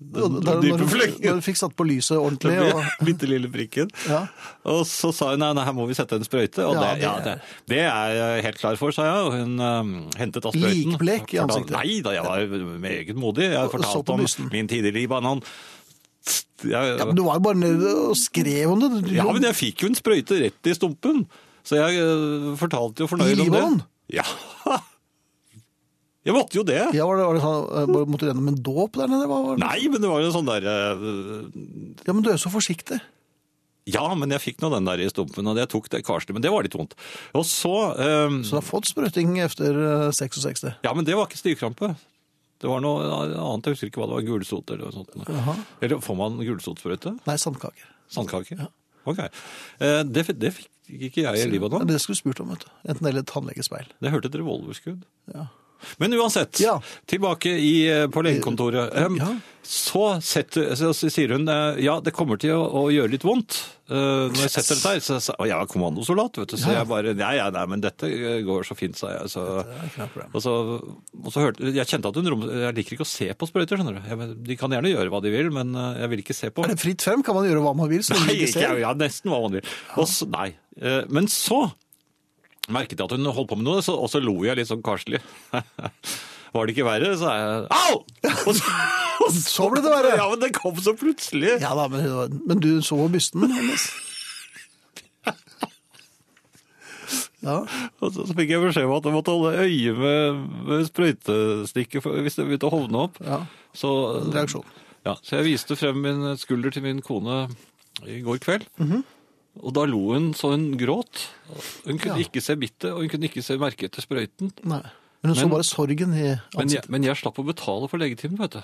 S2: den
S1: Da- da- når,
S2: dype
S1: du-
S2: flekken.
S1: når du fikk satt på lyset ordentlig
S2: Den
S1: og
S2: bi- [laughs] bitte lille prikken.
S1: Ja.
S2: Og så sa hun nei, nei, her må vi sette en sprøyte. Og
S1: Ja,
S2: det, ja,
S1: det-
S2: det, det er jeg helt klar for, sa jeg. Og hun øhm, hentet da sprøyten.
S1: Likblek i
S2: Fortalte-
S1: ansiktet.
S2: Nei da, jeg var meget modig. Jeg
S1: så
S2: fortalte
S1: på
S2: om
S1: bussen.
S2: min tid i Libanon. Jeg,
S1: Ja, men du var jo bare nede og skrev om det. Du,
S2: Ja, men jeg fikk jo en sprøyte rett i stumpen. Så jeg eh, fortalte jo
S1: I
S2: fornøyd om det.
S1: livmorhalsen?
S2: Ja. [laughs] Jeg måtte jo det.
S1: ja, var det, var det sånn, eh, bare Måtte du gjennom en dåp der nede? Hva var det?
S2: Nei, men det var jo en sånn der eh,
S1: Ja, men du er jo så forsiktig.
S2: Ja, men jeg fikk nå den der i stumpen, og jeg tok det karste, men det var litt vondt. Og så eh,
S1: Så du har fått sprøyting etter eh, 66.
S2: Ja, men det var ikke stivkrampe. Det var noe annet, jeg husker ikke hva det var. Gulsot eller noe sånt. Eller får man gulsotsprøyte?
S1: Nei, sandkaker.
S2: Sandkake? Ok. Eh, Det, fi- det fikk ikke jeg
S1: Ja,
S2: i Libanon.
S1: det skulle du spurt om, vet du. Enten eller tannlegespeil.
S2: Det hørte et revolverskudd.
S1: Ja.
S2: Men uansett,
S1: Ja. Eh,
S2: tilbake i, eh, på legekontoret. Em,
S1: Ja.
S2: Så, setter, så sier hun eh, ja, det kommer til å, å gjøre litt vondt. Eh, Når jeg setter det der, så, så, og jeg er kommandosoldat, vet du, så jeg bare nei, ja, nei, men dette eh, går så fint, sa jeg. Så,
S1: ikke noe problem.
S2: og så, og så hørte, jeg kjente at hun rom, jeg liker ikke å se på sprøyter, skjønner du. Jeg, men, de kan gjerne gjøre hva de vil, men eh, jeg vil ikke se på.
S1: Er det fritt frem? Kan man gjøre hva man vil? Så
S2: Nei,
S1: lenge ikke
S2: ikke,
S1: ser?
S2: ja, nesten hva man vil. Og så, nei. Eh, Men så merket jeg at hun holdt på med noe, så, og så lo jeg litt sånn karslig. [laughs] Var det ikke verre, sa jeg. Au! Og
S1: [laughs]
S2: så, og
S1: Så ble det verre.
S2: Ja, men det kom så plutselig.
S1: Ja da, men, men du så på bysten hennes.
S2: [laughs]
S1: Ja.
S2: Og så, så fikk jeg beskjed om at jeg måtte holde øye med, med sprøytestikket for, hvis det begynte å hovne opp.
S1: Ja.
S2: Så,
S1: Reaksjon.
S2: Ja, så jeg viste frem min skulder til min kone i går kveld.
S1: Mhm.
S2: Og da lo hun så hun gråt. Hun kunne
S1: Ja.
S2: ikke se bittet, og hun kunne ikke se merket etter sprøyten.
S1: Nei. Men hun så
S2: Men-
S1: bare sorgen i
S2: Men jeg,
S1: ansiktet.
S2: men jeg slapp å betale for legetimen, vet du.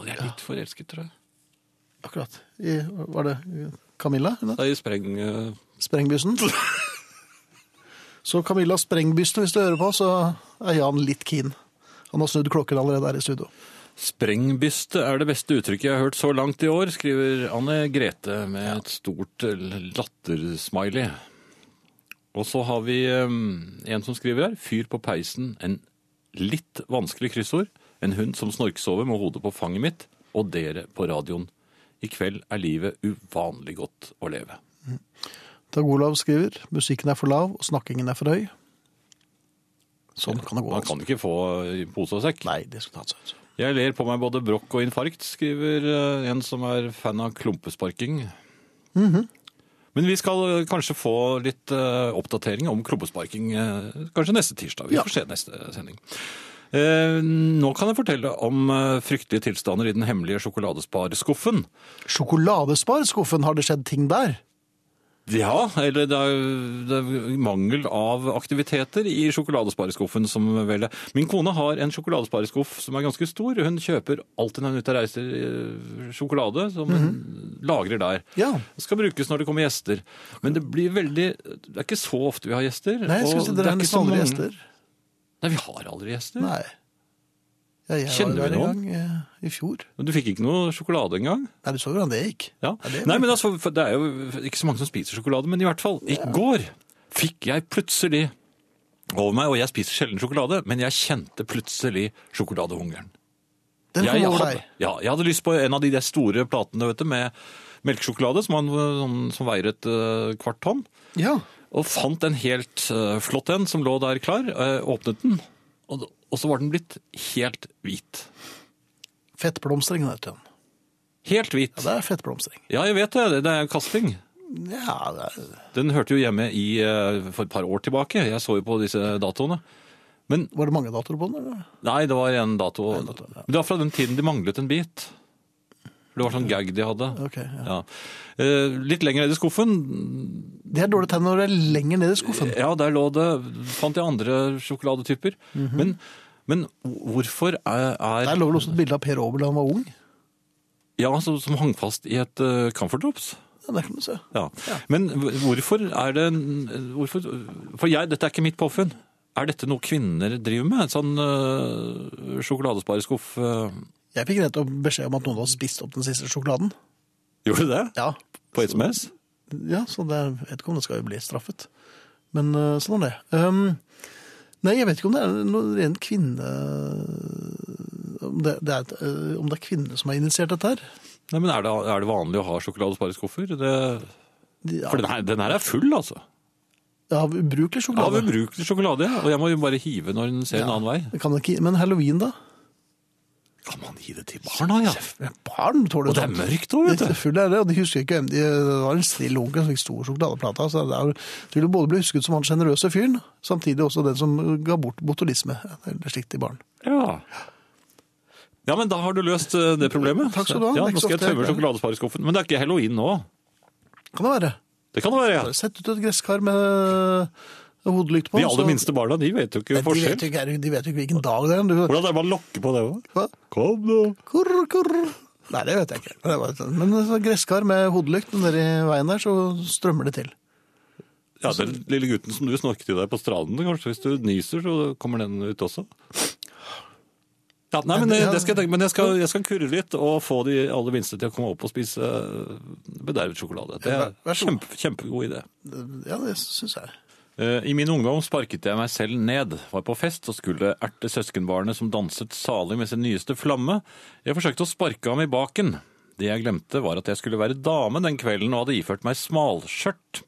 S2: Og jeg er litt forelsket, tror jeg.
S1: Akkurat. I, var det Camilla? Hun
S2: Da jeg spreng... eh, [laughs]
S1: Sprengbysten. Så Camilla Sprengbysten, hvis du hører på, så er Jan litt keen. Han har snudd klokken allerede her i studio.
S2: Sprengbyste er det beste uttrykket jeg har hørt så langt i år, skriver Anne Grete med et stort lattersmiley. Og så har vi um, en som skriver her. Fyr på peisen. En litt vanskelig kryssord. En hund som snorksover med hodet på fanget mitt. Og dere på radioen. I kveld er livet uvanlig godt å leve.
S1: Dag Olav skriver musikken er for lav og snakkingen er for høy. Sånn kan det gå.
S2: Man
S1: Altså.
S2: kan ikke få i pose og sekk.
S1: Nei, det skulle tatt seg ut.
S2: Jeg ler på meg både brokk og infarkt, skriver eh, en som er fan av klumpesparking. Men vi skal eh, kanskje få litt eh, oppdatering om klumpesparking eh, kanskje neste tirsdag. Vi
S1: Ja.
S2: får se neste sending. Eh, Nå kan jeg fortelle om eh, fryktelige tilstander i den hemmelige sjokoladesparskuffen.
S1: Sjokoladespar-skuffen, har det skjedd ting der?
S2: Ja, eller det er, det er mangel av aktiviteter i sjokoladespareskuffen som vel er. Min kone har en sjokoladespareskuff som er ganske stor. Hun kjøper alltid når hun er ute og reiser eh, sjokolade som hun lagrer der.
S1: Mhm. Ja.
S2: Det skal brukes når det kommer gjester. Men det blir veldig Det er ikke så ofte vi har gjester.
S1: Nei, jeg
S2: og
S1: skulle si
S2: det er
S1: dere har
S2: ikke
S1: nesten
S2: så
S1: aldri
S2: mange-
S1: gjester.
S2: Nei, vi har aldri gjester.
S1: Nei. Ja, jeg
S2: Kjenner
S1: var der
S2: vi
S1: en
S2: noen?
S1: gang eh, i fjor.
S2: Men Du fikk ikke noe sjokolade engang?
S1: Nei, du så hvordan det gikk.
S2: Ja.
S1: det er
S2: Nei,
S1: vel-
S2: men altså, for det er jo ikke så mange som spiser sjokolade, men i hvert fall, i går fikk jeg plutselig over meg, og jeg spiser sjelden sjokolade, men jeg kjente plutselig sjokoladehungeren.
S1: Den
S2: jeg,
S1: kom over
S2: hadde,
S1: deg.
S2: ja, jeg hadde lyst på en av de der store platene, vet du, med melkesjokolade, som, han, som- som veier et eh, kvart tonn,
S1: Ja.
S2: og fant en helt eh, flott en som lå der klar, eh, åpnet den, og, og så var den blitt helt hvit.
S1: Fettblomstring, heter den.
S2: Helt
S1: Ja,
S2: hvit.
S1: det er fettblomstring.
S2: Ja, jeg vet det, det er kasting.
S1: Ja, det er...
S2: Den hørte jo hjemme i, eh, for et par år tilbake. Jeg så jo på disse datoene. Men
S1: Var det mange datoer på den? Eller?
S2: nei, det var en dato.
S1: En dato, ja.
S2: Men Det var fra den tiden de manglet en bit. For det var sånn gag de hadde.
S1: Ok, ja.
S2: Ja. Eh, Litt lenger ned i skuffen,
S1: Det er dårlig tegn når det er lenger ned i skuffen.
S2: ja, der lå det, fant jeg andre sjokoladetyper. men, men hvorfor er,
S1: Mhm. Der
S2: er
S1: lå vel også et bilde av Per Aabel da han var ung.
S2: Ja, som, som hang fast i et eh, Comfort Drops?
S1: Ja, det kan du se.
S2: Ja. Men hvorfor er det en- hvorfor, For jeg, dette er ikke mitt påfunn. Er dette noe kvinner driver med? En sånn øh, sjokoladespareskuff øh,
S1: Jeg fikk nettopp beskjed om at noen hadde spist opp den siste sjokoladen.
S2: Gjorde du det?
S1: Ja,
S2: På SMS?
S1: ja så det, jeg vet ikke om det skal jo bli straffet. Men øh, sånn er det. Um, nei, jeg vet ikke om det er noe ren kvinne... Om det, det er, et, øh, om det er kvinner som har initiert dette her.
S2: Nei, men er det, er det vanlig å ha sjokoladespareskuffer? Det,
S1: De,
S2: for den her, den her er full, altså.
S1: Av ubrukelig
S2: Av
S1: sjokolade.
S2: ubrukelig sjokolade. ja. Og jeg må jo bare hive når den ser en annen vei.
S1: Kan det ikke, men halloween da? kan man gi det til barn?
S2: Barna, ja.
S1: Men Barn tåler
S2: Og det er
S1: sånt.
S2: mørkt òg, vet du.
S1: Selvfølgelig er det, og de husker ikke hvem de Det var en snill onkel som fikk stor sjokoladeplate. Så det er, du vil både bli husket som han sjenerøse fyren, samtidig også den som ga bort botulisme. Eller slikt til barn.
S2: Ja. ja, men da har du løst eh, det problemet.
S1: Takk skal du ha. Det er
S2: Ja, nå
S1: ikke så
S2: skal
S1: ofte
S2: jeg
S1: jeg
S2: tømme
S1: klarer.
S2: sjokoladespareskuffen. Men det er ikke halloween nå.
S1: Kan det være?
S2: Det kan det være, ja.
S1: Sett ut et gresskar med eh, hodelykt på.
S2: De aller
S1: så-
S2: minste barna, de vet jo ikke
S1: Men De vet,
S2: forskjell.
S1: jo ikke, de vet jo ikke hvilken dag det er. Du,
S4: Hvordan er det man lokker på det òg?
S1: hva?
S4: Kom nå.
S1: Kurr, kurr. Nei, det vet jeg ikke. Det var, men så gresskar med hodelykt nedi veien der, så strømmer det til.
S2: Ja, Den lille gutten som du snorket i deg på stranden, kanskje hvis du nyser, så kommer den ut også. Ja, nei, men det, det skal jeg tenke, men jeg skal, jeg skal kurre litt og få de aller minste til å komme opp og spise eh, bedeivet sjokolade. Det
S1: Ja,
S2: er
S1: vær så god.
S2: kjempe, kjempegod idé.
S1: Ja, det syns jeg.
S2: Eh, I min ungdom sparket jeg meg selv ned, var på fest og skulle erte søskenbarnet som danset salig med sin nyeste flamme. Jeg forsøkte å sparke ham i baken. Det jeg glemte var at jeg skulle være dame den kvelden og hadde iført meg smalskjørt.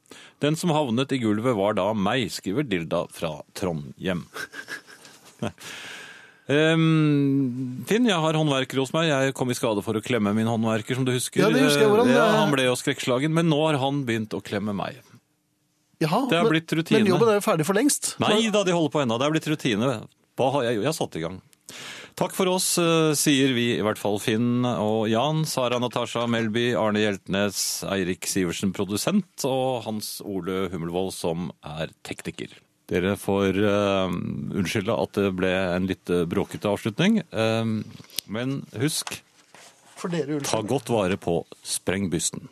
S2: Den som havnet i gulvet var da meg, skriver Dilda fra Trondhjem. [laughs] Ehm, Finn, jeg har håndverker hos meg. Jeg kom i skade for å klemme min håndverker, som du husker.
S1: Ja, det husker jeg hvordan det-
S2: ja, han ble jo skrekkslagen, men nå har han begynt å klemme meg.
S1: Jaha,
S2: Det har
S1: men-
S2: blitt rutine.
S1: Men jobben er jo ferdig for lengst.
S2: Nei da, de holder på ennå. Det er blitt rutine. Hva har jeg gjort? Jeg har satt i gang. Takk for oss, eh, sier vi i hvert fall Finn og Jan, Sara Natasha Melby, Arne Hjeltnes, Eirik Sivertsen produsent og Hans Ole Hummelvold som er tekniker. Dere får eh, unnskylde at det ble en litt eh, bråkete avslutning, eh, men husk,
S1: For dere, Ulf.
S2: ta godt vare på sprengbysten.